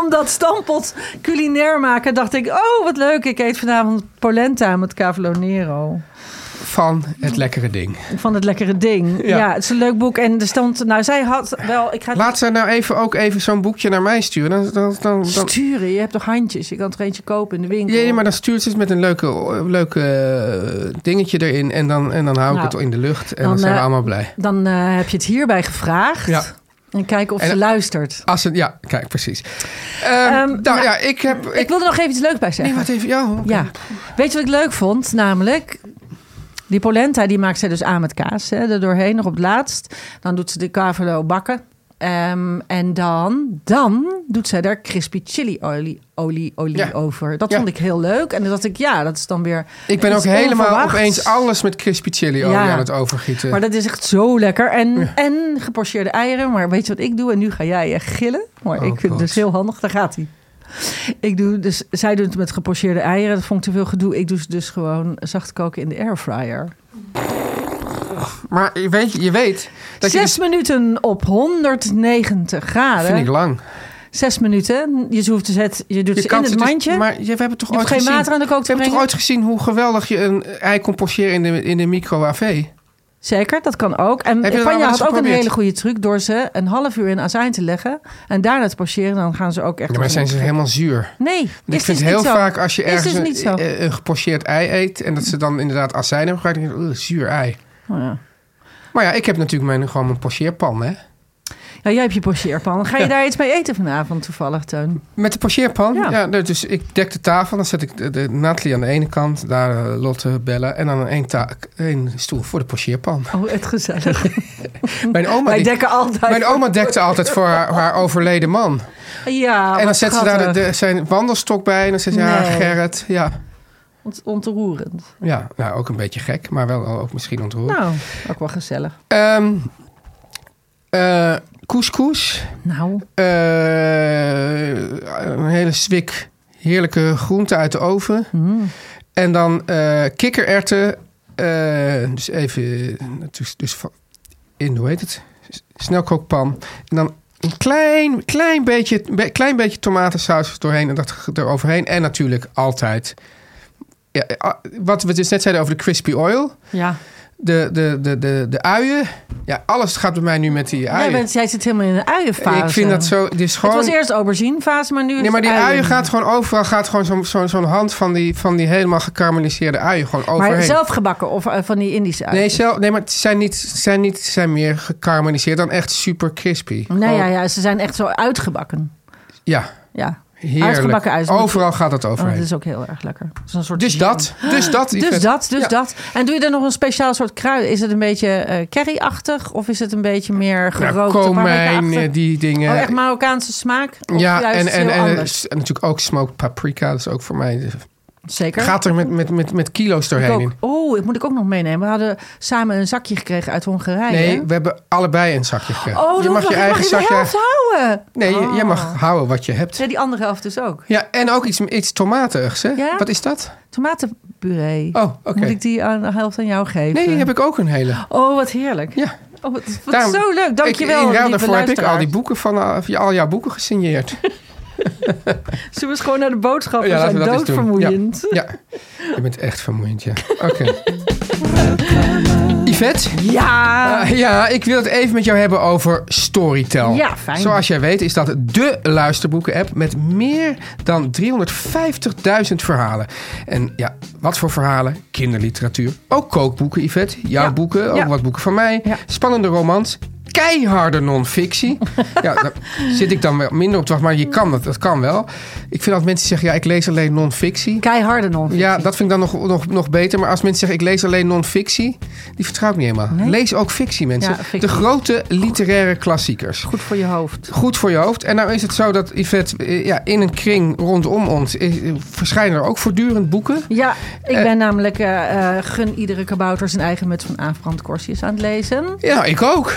omdat stampot culinair maken. Dacht ik, oh wat leuk. Ik eet vanavond polenta met cavolo nero.
van het lekkere ding.
Van het lekkere ding. Ja.
Ja.
het is een leuk boek. En er stond... Nou, zij had wel... Ik ga het
Laat ze nou even ook even zo'n boekje naar mij sturen. Dan, dan, dan, dan,
sturen. Je hebt toch handjes? Je kan er eentje kopen in de winkel.
Ja, ja, maar dan stuurt ze het met een leuke, leuke eh, dingetje erin. En dan, en dan hou ik
Nou,
het in de lucht. En dan,
dan,
zijn we
eh,
allemaal blij.
Dan eh, heb je het hierbij gevraagd.
Ja.
En kijken of
En-
ze luistert.
Als het, ja, kijk, precies. Ehm,
Ehm,
nou,
nou,
ja, ik heb...
Ik wilde nog even iets leuks bij
nee,
zeggen.
wat even... Ja, hoor.
Ja. Weet je wat ik leuk vond? Namelijk, die polenta die maakt zij dus aan met kaas. Hè, er doorheen, nog op het laatst. Dan doet ze de cavolo bakken. Ehm, en dan, dan doet zij daar crispy chili olie, olie, olie
Ja.
over. Dat
Ja.
vond ik heel leuk. En dat dacht ik, ja, dat is dan weer...
Ik ben ook
iets
helemaal
onverwachts.
opeens alles met crispy chili olie
Ja.
aan het overgieten.
Maar dat is echt zo lekker. En, en gepocheerde eieren. Maar weet je wat ik doe? En nu ga jij echt gillen. Maar
Oh,
ik vind
God.
het dus heel handig. Daar gaat hij. Ik doe dus, zij doet het met gepocheerde eieren. Dat vond ik te veel gedoe. Ik doe ze dus gewoon zacht koken in de airfryer.
Maar je weet, je weet dat je...
Zes
dus-
minuten op 190
vind ik
graden.
lang.
Zes minuten. Je, hoeft dus het, je doet
Je
ze Dus in
kan
het
ze dus-
mandje.
maar je- we hebben toch
Je hoeft
ooit
geen
gezien...
water aan de kook te
we hebben toch ooit
brengen.
gezien hoe geweldig je een ei kon pocheren in de, in de microwave?
Zeker, dat kan ook.
Heb je
En
dat nou
Panja
wel eens
had ook een
geprobeerd?
hele goede truc door ze een half uur in azijn te leggen en daarna te pocheren. Dan gaan ze ook echt.
Ja, maar
op-
zijn ze helemaal zuur?
Nee, is
Want ik
dus
vind
niet
heel
zo.
vaak als je
Is
ergens
dus niet zo.
een, eh, een gepocheerd ei eet... en dat ze dan inderdaad azijn hebben gebruikt... dan denk je, "Oeh, eh, zuur ei.
Oh ja.
Maar ja, ik heb natuurlijk mijn, gewoon mijn pocheerpan, hè.
Ja, Nou, jij hebt je pocheerpan. Ga je
Ja.
daar iets mee eten vanavond toevallig, Teun?
Met de pocheerpan?
Ja.
Ja. nou, dus ik dek de tafel. Dan zet ik de, de Nathalie aan de ene kant, daar eh, Lotte bellen. En dan één, ta- één stoel voor de pocheerpan.
Oh, het gezellig.
Mijn oma,
Wij
die-
dekken altijd.
mijn oma dekte altijd voor haar, haar overleden man.
Ja,
en dan
Ah, wat
zet ze daar de,
schattig.
de- zijn wandelstok bij. En dan zegt ze, ja,
Nee.
Gerrit. Ja,
Ont- ontroerend.
ja, nou ook een beetje gek, maar wel ook misschien ontroerd.
Nou, ook wel gezellig.
Ehm, eh, couscous.
Nou,
Eh, een hele zwik heerlijke groente uit de oven.
Mm-hmm.
En dan eh, kikkererwten. Eh, dus even, dus, dus van- in, hoe heet het? S- Snelkookpan. En dan een klein, klein, beetje, be- klein beetje tomatensaus er doorheen en dat ge- eroverheen. En natuurlijk altijd. Ja, eh, ah, wat we dus net zeiden over de crispy oil.
ja.
De, de, de, de, de uien. Ja, alles gaat bij mij nu met die
Jij,
uien.
bent, jij zit helemaal in de uienfase.
ik vind dat zo. Dus gewoon,
Het was eerst auberginefase, maar nu is
Nee, maar die
het
uien, gaat gewoon overal, gaat gewoon zo'n zo'n zo'n hand van die, van die helemaal gekarameliseerde uien gewoon overheen.
Maar zelf gebakken of eh, van die Indische uien?
nee, zelf, nee, maar het zijn niet, zijn niet zijn meer gekarameliseerd dan echt super crispy.
Nee,
Gewoon-
ja, ja, ze zijn echt zo uitgebakken.
ja,
Ja,
heerlijk.
Uitgebakken uien.
Overal gaat het
oh, dat
overheen.
is ook heel erg lekker. Het is een soort
Dus dat, dus dat.
Dus
Yvette.
dat, dus
Ja.
dat. En doe je er nog een speciaal soort kruiden? Is het een beetje eh curryachtig of is het een beetje meer
Ja,
gerookt?
Nou, komijn, eh, die dingen.
Oh, echt Marokkaanse smaak? Of
ja,
juist
en, en,
heel
en, eh,
anders?
en natuurlijk ook smoked paprika. Dat is ook voor mij.
Zeker.
Gaat er met, met, met, met kilo's
Ik
doorheen
ook.
in.
Oh, dat moet ik ook nog meenemen. We hadden samen een zakje gekregen uit Hongarije.
Nee, we hebben allebei een zakje gekregen.
Oh, je mag je, eigen mag je de helft Ah. houden.
Nee, je- jij mag houden wat je hebt.
Ja, die andere helft dus ook.
Ja, en ook iets, iets tomatigs, hè?
Ja?
Wat is dat?
Tomatenpuree.
Oh, oké.
Moet ik die aan, de helft aan jou geven?
Nee, die heb ik ook een hele.
Oh, wat heerlijk.
Ja.
Oh, wat, wat
Daarom-
zo leuk. Dankjewel.
Ik, in ruil
lieve
daarvoor heb ik al
luisteraar.
die boeken van eh, al jouw boeken gesigneerd.
Zullen we eens gewoon naar de boodschappen?
Ja,
Ja,
laten
zijn
we dat eens doen.
doodvermoeiend.
ja, je bent echt vermoeiend, ja. Oké. Yvette?
Ja.
Eh, ja, ik wil het even met jou hebben over Storytel.
Ja, fijn.
Zoals jij weet is dat de luisterboeken-app met meer dan 350.000 verhalen. En ja, wat voor verhalen? Kinderliteratuur. Ook kookboeken, Yvette. Jouw
Ja.
boeken, ook
Ja.
wat boeken van mij.
Ja.
Spannende romans. Keiharde non-fictie. ja, daar zit ik dan wel minder op te wachten, maar je kan dat, dat kan wel. Ik vind dat mensen zeggen, ja, ik lees alleen non-fictie.
Keiharde non
Ja, dat vind ik dan nog, nog, nog beter. Maar als mensen zeggen, ik lees alleen non-fictie, die vertrouw ik niet helemaal. Lees ook fictie, mensen.
Ja, fictie.
De grote literaire klassiekers.
Goed voor je hoofd.
Goed voor je hoofd. En nou is het zo dat, Yvette, eh, ja, in een kring rondom ons eh, verschijnen er ook voortdurend boeken.
Ja, ik
Eh.
ben namelijk eh, eh, Gun iedere kabouter zijn eigen muts van Aafbrand Korsius aan het lezen.
Ja, ik ook.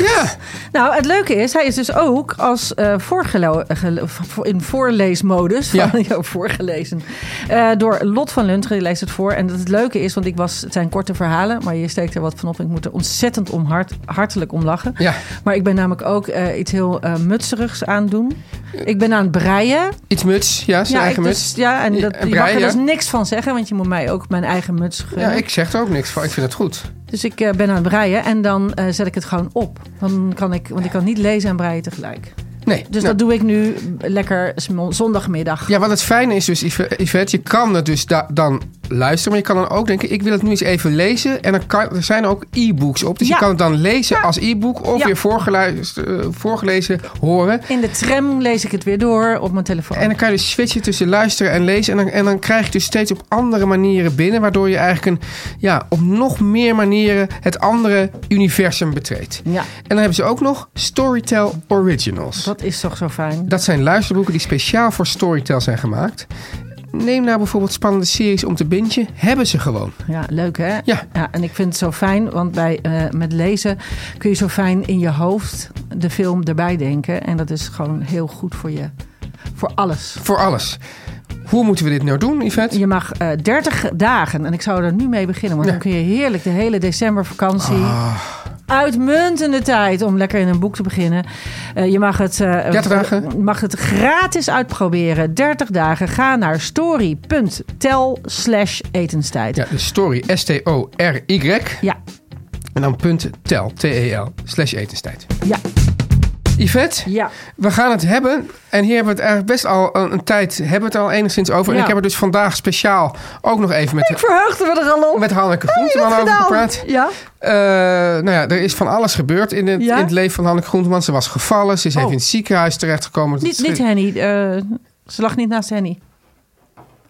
Ja,
Nou, het leuke is, hij is dus ook als eh voorgelo- gelo- vo- in voorleesmodus van
Ja.
jou voorgelezen eh, door Lot van Lunteren. Die leest het voor. En dat het leuke is, want ik was, het zijn korte verhalen, maar je steekt er wat van op. Ik moet er ontzettend om hart, hartelijk om lachen.
Ja.
Maar ik ben namelijk ook eh, iets heel eh, mutserigs aan het doen. Ik ben aan het breien.
iets muts. Ja, zijn
Ja,
eigen
ik
muts.
dus- ja, en
Ja,
dat, je mag
breien.
er dus niks van zeggen, want je moet mij ook mijn eigen muts gunnen.
Ja, ik zeg er ook niks van. Ik vind het goed.
Dus ik eh, ben aan het breien en dan eh, zet ik het gewoon op. Dan kan ik, want ik kan niet lezen en breien tegelijk.
Nee.
Dus
nou.
dat doe ik nu lekker sm- zondagmiddag.
Ja, wat het fijne is dus, Yve- Yvette, je kan het dus da- dan luisteren, maar je kan dan ook denken, ik wil het nu eens even lezen. En dan kan, er zijn ook e-books op, dus
Ja.
je kan het dan lezen als e-book of
Ja.
weer voorgeluist- eh, voorgelezen horen.
In de tram lees ik het weer door op mijn telefoon.
En dan kan je dus switchen tussen luisteren en lezen. En dan, en dan krijg je het dus steeds op andere manieren binnen, waardoor je eigenlijk een, ja, op nog meer manieren het andere universum betreedt.
Ja.
En dan hebben ze ook nog Storytel Originals.
dat is toch zo fijn.
Dat zijn luisterboeken die speciaal voor Storytel zijn gemaakt. Neem nou bijvoorbeeld spannende series om te bingen. Hebben ze gewoon.
Ja, leuk hè?
Ja.
en ik vind het zo fijn, want bij, eh, met lezen kun je zo fijn in je hoofd de film erbij denken. En dat is gewoon heel goed voor je. Voor alles.
Voor alles. Hoe moeten we dit nou doen, Yvette?
Je mag eh 30 dagen, en ik zou er nu mee beginnen, want
Ja.
dan kun je heerlijk de hele decembervakantie. Uitmuntende tijd om lekker in een boek te beginnen. Eh, je mag het, eh,
30 dagen.
mag het gratis uitproberen. 30 dagen. Ga naar story.tel slash etenstijd.
Ja, de story. S-T-O-R-Y.
ja,
En dan punt tel. T-E-L. Slash etenstijd.
ja.
Yvette,
ja.
we gaan het hebben. En hier hebben we het eigenlijk best al een, een tijd. Hebben we het al enigszins over. En
Ja.
ik heb er dus vandaag speciaal ook nog even
Ik
met,
verheugde me er al op.
met Hanneke
Heb je dat
Groenteman over
gedaan?
gepraat.
Ja.
Eh, nou ja, er is van alles gebeurd in het,
Ja? Oh.
in het leven van Hanneke Groenteman. Ze was gevallen, ze is even in het ziekenhuis terechtgekomen.
Niet, niet Henny. eh, ze lag niet naast Henny.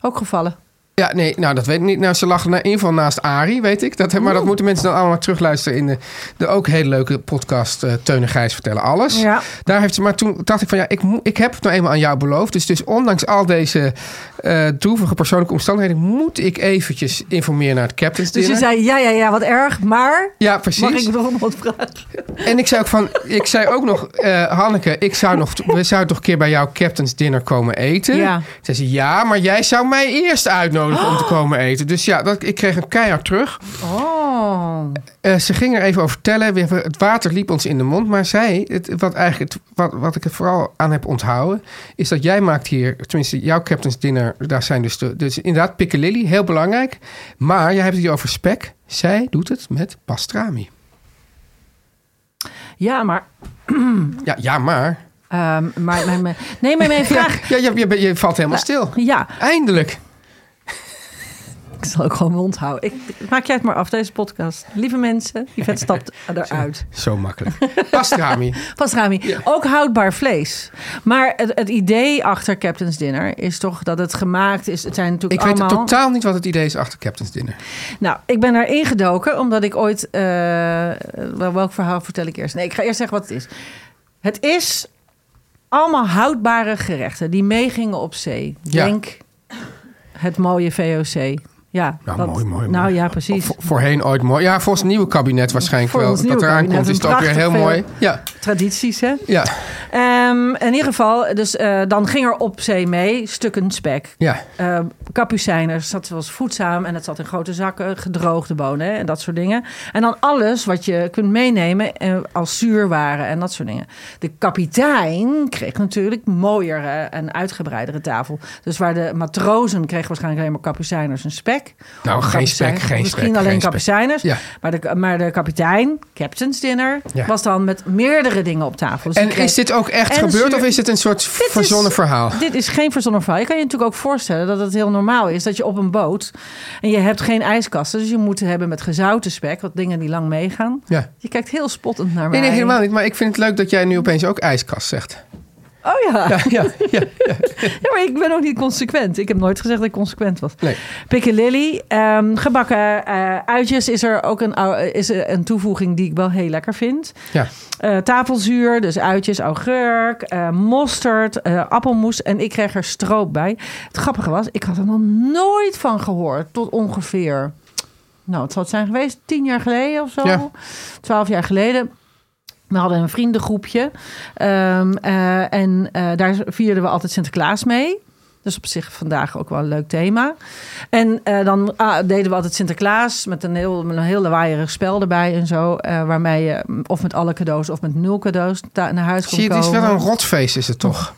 Ook gevallen. Dus
Ja, nee, nou dat weet ik niet. Nou, ze lag in ieder geval naast Arie, weet ik. Dat, maar
Oh.
dat moeten mensen dan allemaal terugluisteren in de, de ook hele leuke podcast eh Teun en Gijs vertellen alles.
Ja.
Daar heeft ze, maar toen dacht ik van ja, ik, moet- ik heb het nou eenmaal aan jou beloofd. Dus, dus ondanks al deze eh droevige persoonlijke omstandigheden moet ik eventjes informeren naar het Captain's
Dus je
Dinner.
zei, ja, ja, ja, wat erg. Maar
Ja, precies.
mag ik nog wat vragen?
En ik zei ook van, ik zei ook nog, eh, Hanneke, ik zou nog, we zouden toch een keer bij jouw captain's dinner komen eten.
Ja.
Zei ze, ja, maar jij zou mij eerst uitnodigen om te komen eten. Dus ja, dat, ik kreeg een keihard terug.
Oh.
Eh, ze ging er even over vertellen. We hebben- Het water liep ons in de mond. Maar zij, het, wat, eigenlijk het, wat, wat ik er vooral aan heb onthouden... is dat jij maakt hier, tenminste jouw captain's dinner... daar zijn dus, de, dus inderdaad piccalilli, heel belangrijk. Maar jij hebt het hier over spek. Zij doet het met pastrami.
Ja, maar
Ja, ja maar...
Ehm, maar mijn, mijn- nee, maar mijn vraag.
Ja, je, je, bent- je valt helemaal stil.
Ja,
Eindelijk.
ik zal ook gewoon mijn mond houden. Ik, maak jij het maar af, deze podcast. Lieve mensen, Yvette stapt eruit.
Zo makkelijk. Pastrami.
Vast Rami, ook houdbaar vlees. Maar het, het idee achter Captain's Dinner is toch dat het gemaakt is. Het zijn
Ik
natuurlijk
weet
allemaal...
totaal niet wat het idee is achter Captain's Dinner.
Nou, ik ben daar ingedoken omdat ik ooit... eh, wel- welk verhaal vertel ik eerst? Nee, ik ga eerst zeggen wat het is. Het is allemaal houdbare gerechten die meegingen op zee.
Ja.
Denk het mooie VOC. Ja,
Nou,
dat-
mooi, mooi,
Nou
mooi.
ja, precies.
Vo- voorheen ooit mooi. Ja, volgens het nieuwe kabinet waarschijnlijk
Voor ons
wel. Dat
nieuwe
eraan
kabinet,
komt is
een
het ook weer heel
prachtig
mooi. Ja,
Tradities, hè?
ja,
Ehm, in ieder geval, dus eh, dan ging er op zee mee stukken spek.
ja.
Eh, kapucijners, dat was voedzaam en dat zat in grote zakken. Gedroogde bonen hè, en dat soort dingen. En dan alles wat je kunt meenemen eh, als zuurwaren en dat soort dingen. De kapitein kreeg natuurlijk mooiere en uitgebreidere tafel. Dus waar de matrozen kregen waarschijnlijk alleen maar kapucijners en spek.
Nou,
Of
geen
kapucijnen.
spek, geen
Misschien
spek,
alleen
geen spek.
kapucijners.
Ja.
Maar, de, maar de kapitein, captain's dinner,
Ja.
was dan met meerdere dingen op tafel. Dus die
En
kreeg-
is dit ook echt
en
gebeurd
zuur-
of is dit een soort
dit
verzonnen
is-
verhaal?
Dit is geen verzonnen verhaal. Je kan je natuurlijk ook voorstellen dat het heel normaal is dat je op een boot en je hebt geen ijskasten, dus je moet hebben met gezouten spek, wat dingen die lang meegaan.
Ja.
Je kijkt heel spottend naar mij.
Nee, nee, helemaal niet. Maar ik vind het leuk dat jij nu opeens ook ijskast zegt.
Oh ja.
Ja,
ja.
ja, ja.
maar ik ben ook niet consequent. Ik heb nooit gezegd dat ik consequent was.
Nee.
Piccalilli, ehm, gebakken eh, uitjes is er ook een, ou- eh, is er een toevoeging die ik wel heel lekker vind.
Ja.
Eh, tafelzuur, dus uitjes, augurk, eh, mosterd, eh, appelmoes. En ik kreeg er stroop bij. Het grappige was, ik had er nog nooit van gehoord. Tot ongeveer, nou, het zal het zijn geweest, tien jaar geleden of zo.
Ja.
Twaalf jaar geleden. We hadden een vriendengroepje. Ehm, eh, en eh, daar vierden we altijd Sinterklaas mee. Dus op zich vandaag ook wel een leuk thema. En eh, dan ah, deden we altijd Sinterklaas met een heel, met een heel lawaaierig spel erbij en zo. eh, waarmee je mm, of met alle cadeaus of met nul cadeaus ta- naar huis kon
Zie je, het
komen.
is wel een rotfeest, is het toch?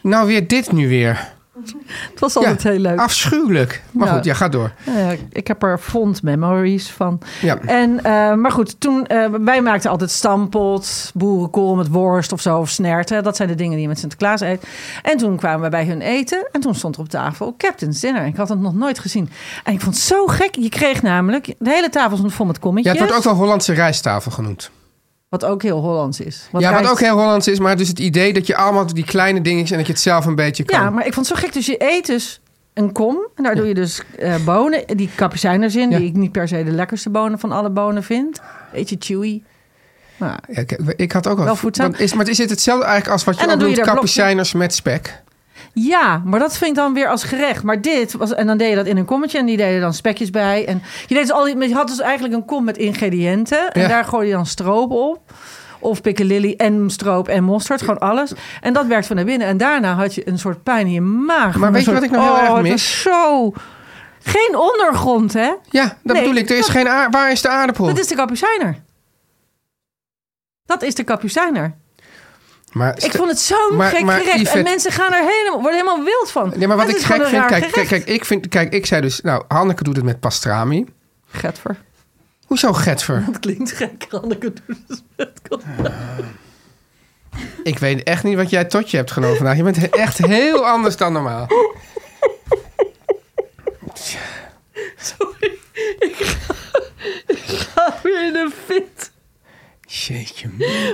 nou, weer dit nu weer.
Het was altijd Oh, heel leuk.
Afschuwelijk. Maar
Ja.
goed, ja, ga door.
Ja, Eh, ik heb er fond memories van.
Ja.
En, eh, maar goed, toen, eh, wij maakten altijd stampot, boerenkool met worst of zo, of snerten. Dat zijn de dingen die je met Sinterklaas eet. En toen kwamen we bij hun eten en toen stond er op tafel Captain's Dinner. Ik had het nog nooit gezien. En ik vond het zo gek. Je kreeg namelijk, de hele tafel stond vol met
Ja,
kommetjes.
het wordt ook wel Hollandse rijsttafel genoemd.
Wat ook heel Hollands is.
ja,
rijst-
wat ook heel Hollands is, maar dus het idee dat je allemaal die kleine dingetjes en dat je het zelf een beetje kan.
Ja, maar ik vond het zo gek. Dus je eet dus een kom. En daar doe je dus eh, bonen. Die kapucijners in.
Ja.
Die ik niet per se de lekkerste bonen van alle bonen vind. Beetje chewy. Maar,
Ja, ik, ik had ook al.
Wel voedzaam.
dan is, maar is het hetzelfde eigenlijk als wat je
En
ook
dan doe je
doet,
daar blokjes-
kapucijners met spek?
ja, maar dat vind ik dan weer als gerecht. Maar dit was... En dan deed je dat in een kommetje. En die deden dan spekjes bij. En je, deed dus al die, maar je had dus eigenlijk een kom met ingrediënten. En
Ja.
daar gooi je dan stroop op. Of piccalilli en stroop en mosterd. Gewoon alles. En dat werkt van naar binnen. En daarna had je een soort pijn in je maag.
Maar
Een
weet je
soort-
wat ik nou heel
oh,
erg
het
mis?
was zo... Geen ondergrond, hè?
Ja, dat
Nee,
bedoel ik. Er is
dat-
geen aard, waar is de aardappel?
Dat is de kapucijner. Dat is de kapucijner.
maar,
Ik vond het zo'n
Maar-
gek
maar
gerecht.
Yvette-
En mensen gaan er helemaal, worden helemaal wild van.
nee, maar wat
Dat
ik
is gewoon
gek
een
vind,
raar
kijk, kijk,
gerecht.
kijk, ik vind, kijk, ik zei dus, nou, Hanneke doet het met pastrami.
Getver.
Hoezo Getver?
Dat klinkt gek. Hanneke doet het met kapucijner.
Ik weet echt niet wat jij tot je hebt genomen vandaag. Je bent he- echt heel anders dan normaal.
Sorry. Ik ga, ik ga weer in de fit.
Jeetje.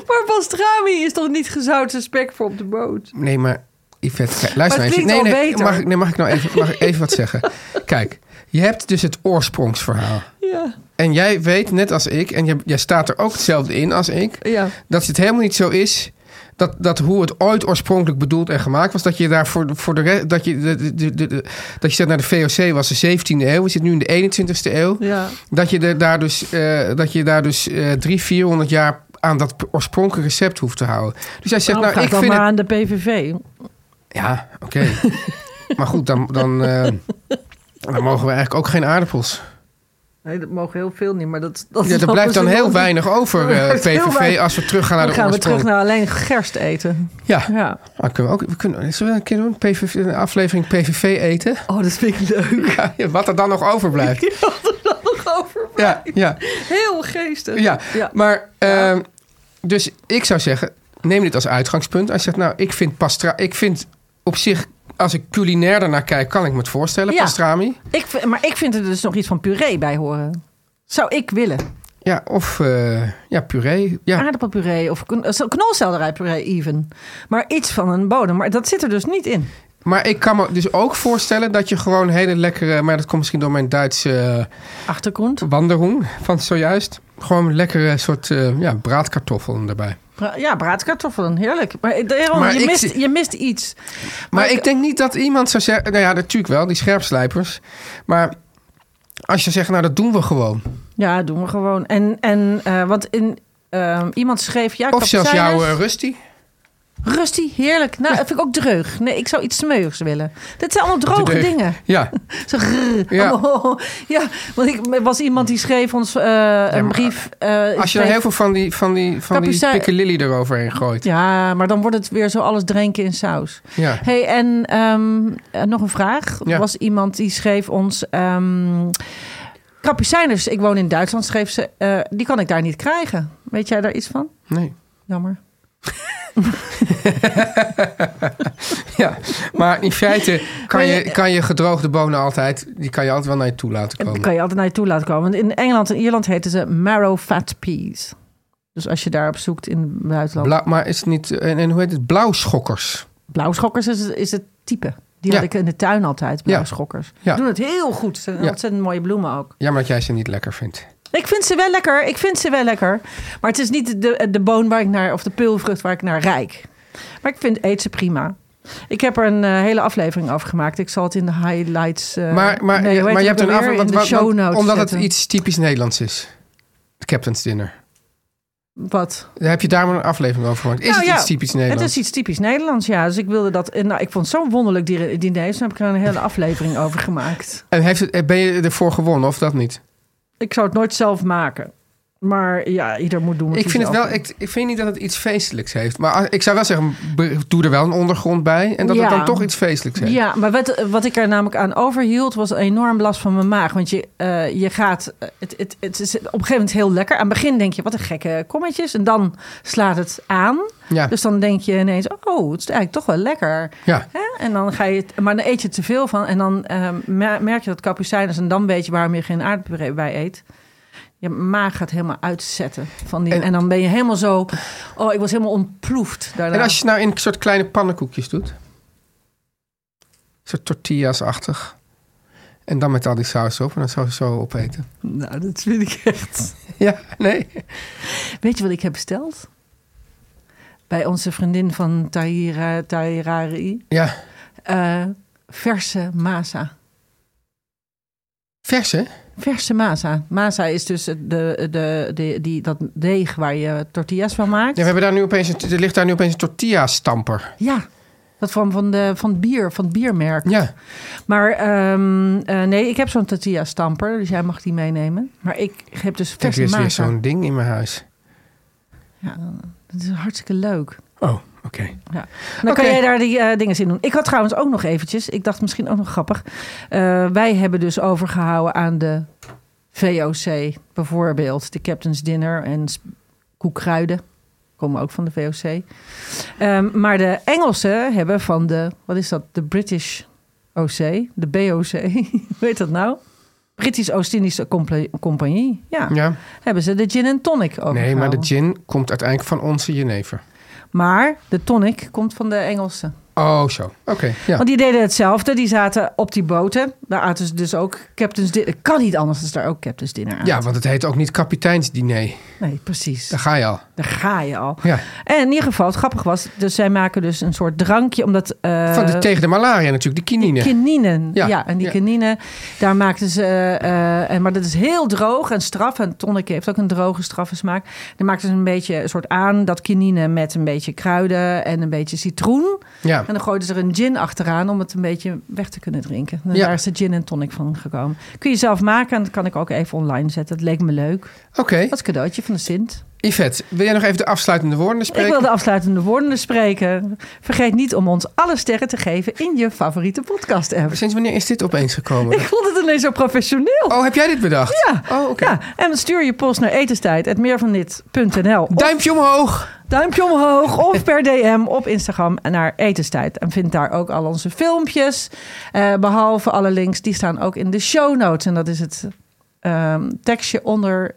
Maar pastrami is toch niet gezouten spek voor op de boot?
Nee, maar Yvette, kijk, luister nou
Maar het
even.
klinkt
Nee,
al
nee,
beter.
mag, ik- nee, mag ik nou even, mag ik even wat zeggen? Kijk, je hebt dus het oorsprongsverhaal.
Ja.
En jij weet, net als ik, en jij, jij staat er ook hetzelfde in als ik,
Ja.
dat het helemaal niet zo is. Dat, dat hoe het ooit oorspronkelijk bedoeld en gemaakt was, dat je daar voor, voor de rest. Dat je, de, de- de- de- de- dat je zegt, naar de VOC was de 17e eeuw, we zitten nu in de 21e eeuw.
Ja.
Dat je er daar dus, eh, dat je daar dus eh 300, 400 jaar aan dat oorspronkelijke recept hoeft te houden. Dus jij zegt,
Nou,
nou,
ga ik
ik
dan
vind
maar
het.
aan de PVV.
Ja, oké. maar goed, dan, dan, eh, dan mogen we eigenlijk ook geen aardappels.
Nee, dat mogen heel veel niet, maar dat... dat
Ja, er
dat
blijft
is
dan
een
heel
ander-
weinig over
Er
eh,
blijft heel
PVV
weinig.
als we teruggaan naar
Dan
de
gaan we terug
oorsprong.
naar alleen gerst eten.
Ja,
Ja.
Maar kunnen we, ook, we kunnen, zullen we een keer doen? PVV, een aflevering PVV eten?
Oh, dat vind ik leuk.
Ja, wat er dan nog overblijft.
Over
Ja, ja,
heel geestig.
ja.
Ja.
Maar, eh, dus ik zou zeggen, neem dit als uitgangspunt. Als je zegt, nou, ik vind pastra... Ik vind op zich, als ik culinair daarnaar kijk, kan ik me het voorstellen,
Ja.
pastrami.
Ik, vind- maar ik vind er dus nog iets van puree bij horen. Zou ik willen.
Ja, of eh, ja, puree. Ja,
Aardappelpuree of kn- eh, knolselderijpuree even. Maar iets van een bodem. Maar dat zit er dus niet in.
Maar ik kan me dus ook voorstellen dat je gewoon hele lekkere... Maar dat komt misschien door mijn Duitse eh,
Achtergrond.
wanderhoen van zojuist. Gewoon een lekkere soort eh, ja, braadkartoffel erbij.
Bra- Ja, braadkartoffelen. Heerlijk. Maar, eh, daarom,
Maar
je,
ik
mist,
zie-
je mist iets.
Maar ik denk niet dat iemand zou zeggen... Nou ja, natuurlijk wel, die scherpslijpers. Maar als je zegt, nou dat doen we gewoon.
Ja, doen we gewoon. En, en eh, want in, eh, iemand schreef... Ja,
Of zelfs
kapucijners.
jouw eh, Rusty.
Rusty, heerlijk. Nou, dat vind ik ook dreug. Nee, ik zou iets smeuigs willen. Dit zijn allemaal droge
Dreug.
dingen.
Ja,
Zo grrr.
Ja.
Ja. Oh, ja, want ik er was iemand die schreef ons eh, een brief. eh,
als je
schreef-
er heel veel van die, van die, van die
Kapucijn-
piccalilli eroverheen gooit.
Ja, maar dan wordt het weer zo alles drenken in saus.
Ja.
hey, en ehm, eh, nog een vraag.
Ja.
Er was iemand die schreef ons... ehm Kapucijners, ik woon in Duitsland, schreef ze. eh, die kan ik daar niet krijgen. Weet jij daar iets van?
Nee.
Jammer.
Ja, maar in feite kan je, kan je gedroogde bonen altijd... Die kan je altijd wel naar je toe laten
En
komen.
Dat kan je altijd naar je toe laten komen. Want in Engeland en Ierland heten ze marrow fat peas. Dus als je daarop zoekt in het buitenland.
Bla- maar is het niet. En, en hoe heet het? Blauwschokkers.
Blauwschokkers is, is het type. Die
Ja.
had ik in de tuin altijd, blauwschokkers. Die
Ja.
doen het heel goed. Ze zijn
Ja.
ontzettend mooie bloemen ook.
Jammer dat jij ze niet lekker vindt.
Ik vind ze wel lekker, ik vind ze wel lekker. Maar het is niet de, de boon waar ik naar, of de peulvrucht waar ik naar rijk. Maar ik vind, eet ze prima. Ik heb er een eh, hele aflevering over gemaakt. Ik zal het in de highlights... eh,
maar maar,
nee, hoe heet
maar je
het
hebt een
ook alweer?
aflevering.
in de show notes
Omdat
zetten.
het iets typisch Nederlands is. Het Captain's Dinner.
Wat?
Daar heb je daar maar een aflevering over gemaakt. Is
Nou
het
ja,
iets typisch Nederlands?
Het is iets typisch Nederlands, ja. Dus ik wilde dat. en Nou, ik vond het zo'n wonderlijk dier- diner. Dus daar heb ik er een hele aflevering over gemaakt.
En heeft het, ben je ervoor gewonnen of dat niet?
Ik zou het nooit zelf maken. Maar ja, ieder moet doen wat
Ik
hij
vind, het
zelf
wel, ik, ik vind niet dat het iets feestelijks heeft. Maar als- ik zou wel zeggen, be- doe er wel een ondergrond bij. En dat
Ja.
het dan toch iets feestelijks heeft.
Ja, maar wat, wat ik er namelijk aan overhield was een enorm last van mijn maag. Want je, eh, je gaat, eh, het, het, het is op een gegeven moment heel lekker. Aan het begin denk je, wat een gekke kommetjes. En dan slaat het aan.
Ja.
Dus dan denk je ineens, oh, het is eigenlijk toch wel lekker.
Ja.
Hè? En dan ga je, het- maar dan eet je te veel van. En dan eh, mer- merk je dat kapucijnen is. En dan weet je waarom je geen aardbei bij eet. Je maag gaat helemaal uitzetten. Van die, en,
En-
dan ben je helemaal zo, oh, ik was helemaal ontploefd daarna.
En als je het nou in soort kleine pannenkoekjes doet. Een soort tortillas-achtig. En dan met al die saus op. En dan zou je zo opeten.
Nou, dat vind ik echt...
Ja, nee.
Weet je wat ik heb besteld? Bij onze vriendin van Tahira, Tahirari.
Ja.
Eh, verse masa.
Vers, hè?
Verse masa. Masa is dus het- de, de, de, die, dat deeg waar je tortillas van maakt.
Ja, we hebben daar nu opeens, een- er ligt daar nu opeens een tortilla-stamper.
Ja, dat van, van, de, van het bier, van het biermerk.
Ja.
Maar ehm, eh, nee, ik heb zo'n tortilla stamper, dus jij mag die meenemen. Maar ik heb dus
Ik heb
verse
weer, weer
masa.
zo'n ding in mijn huis.
Ja, dat is hartstikke leuk.
Oh, oké.
Ja. Dan kan
Oké.
jij daar die eh, dingen in doen. Ik had trouwens ook nog eventjes, ik dacht misschien ook nog grappig. eh, wij hebben dus overgehouden aan de VOC, bijvoorbeeld de Captain's Dinner en s- koekkruiden. Komen ook van de VOC. Ehm, maar de Engelsen hebben van de, wat is dat, de British OC, de BOC, hoe heet dat nou? Britisch Oost-Indische Compa- Compagnie, ja.
Ja.
Hebben ze de gin en tonic overgehouden.
Nee, maar de gin komt uiteindelijk van onze jenever.
Maar de tonic komt van de Engelsen.
Oh, zo. Oké, ja.
Want die deden hetzelfde. Die zaten op die boten. Daar aten ze dus ook captain's dinner. Het kan niet anders dan ze daar ook captain's dinner aan.
Ja, want het heet ook niet kapiteinsdiner.
Nee, precies.
Daar
Daar,
ga je al.
ga je al.
Ja.
En in ieder geval, het grappig was... Dus zij maken dus een soort drankje, omdat... eh,
Van de, tegen de malaria natuurlijk, de kinine.
Kininen, ja.
Ja,
en die
ja.
kininen, daar maakten ze... eh, en, maar dat is heel droog en straf. En tonic heeft ook een droge, straffe smaak. Daar maakten ze een beetje een soort aan... dat kinine met een beetje kruiden en een beetje citroen.
ja.
En dan gooiden ze er een gin achteraan om het een beetje weg te kunnen drinken. En
Ja.
daar is de gin en tonic van gekomen. Kun je zelf maken en dat kan ik ook even online zetten. Dat leek me leuk.
Oké,
Als cadeautje van de Sint.
Yvette, wil jij nog even de afsluitende woorden spreken?
Ik wil de afsluitende woorden spreken. Vergeet niet om ons alle sterren te geven in je favoriete podcast app.
Sinds wanneer is dit opeens gekomen?
Ik vond het alleen zo professioneel.
Oh, heb jij dit bedacht?
Ja.
Oh, oké.
ja, en stuur je post naar etenstijd.meervandit.nl of
Duimpje omhoog.
duimpje omhoog of per DM op Instagram naar Etenstijd. En vind daar ook al onze filmpjes. Eh, behalve alle links, die staan ook in de show notes. En dat is het ehm, tekstje onder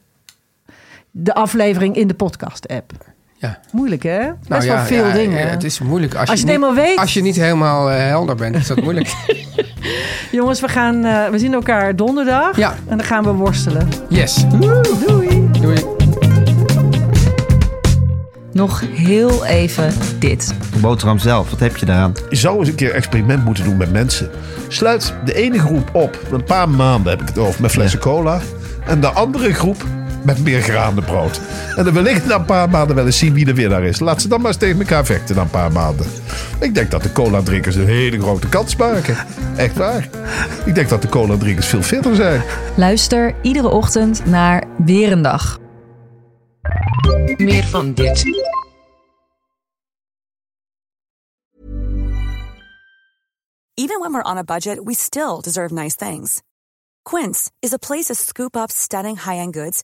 de aflevering in de podcast-app.
Ja.
Moeilijk, hè? Best
Nou
wel
ja,
veel
ja,
dingen.
ja, Het is moeilijk. Als,
Als je
niet,
het helemaal weet.
Als je niet helemaal eh, helder bent, is dat moeilijk.
Jongens, we, gaan, eh, we zien elkaar donderdag.
Ja.
En dan gaan we worstelen.
Yes.
Doei!
Doei.
Nog heel even dit.
De boterham zelf, wat heb je daaraan?
Je zou eens een keer experiment moeten doen met mensen. Sluit de ene groep op, een paar maanden heb ik het over, met flessen cola. En de andere groep met meer geraamde brood. En dan wellicht na een paar maanden wel eens zien wie de winnaar is. Laat ze dan maar eens tegen elkaar vechten na een paar maanden. Ik denk dat de cola-drinkers een hele grote kans maken. Echt waar. Ik denk dat de cola-drinkers veel fitter zijn.
Luister iedere ochtend naar Weer een Dag.
Meer van dit.
Even when we're on a budget, we still deserve nice things. Quince is a place to scoop up stunning high-end goods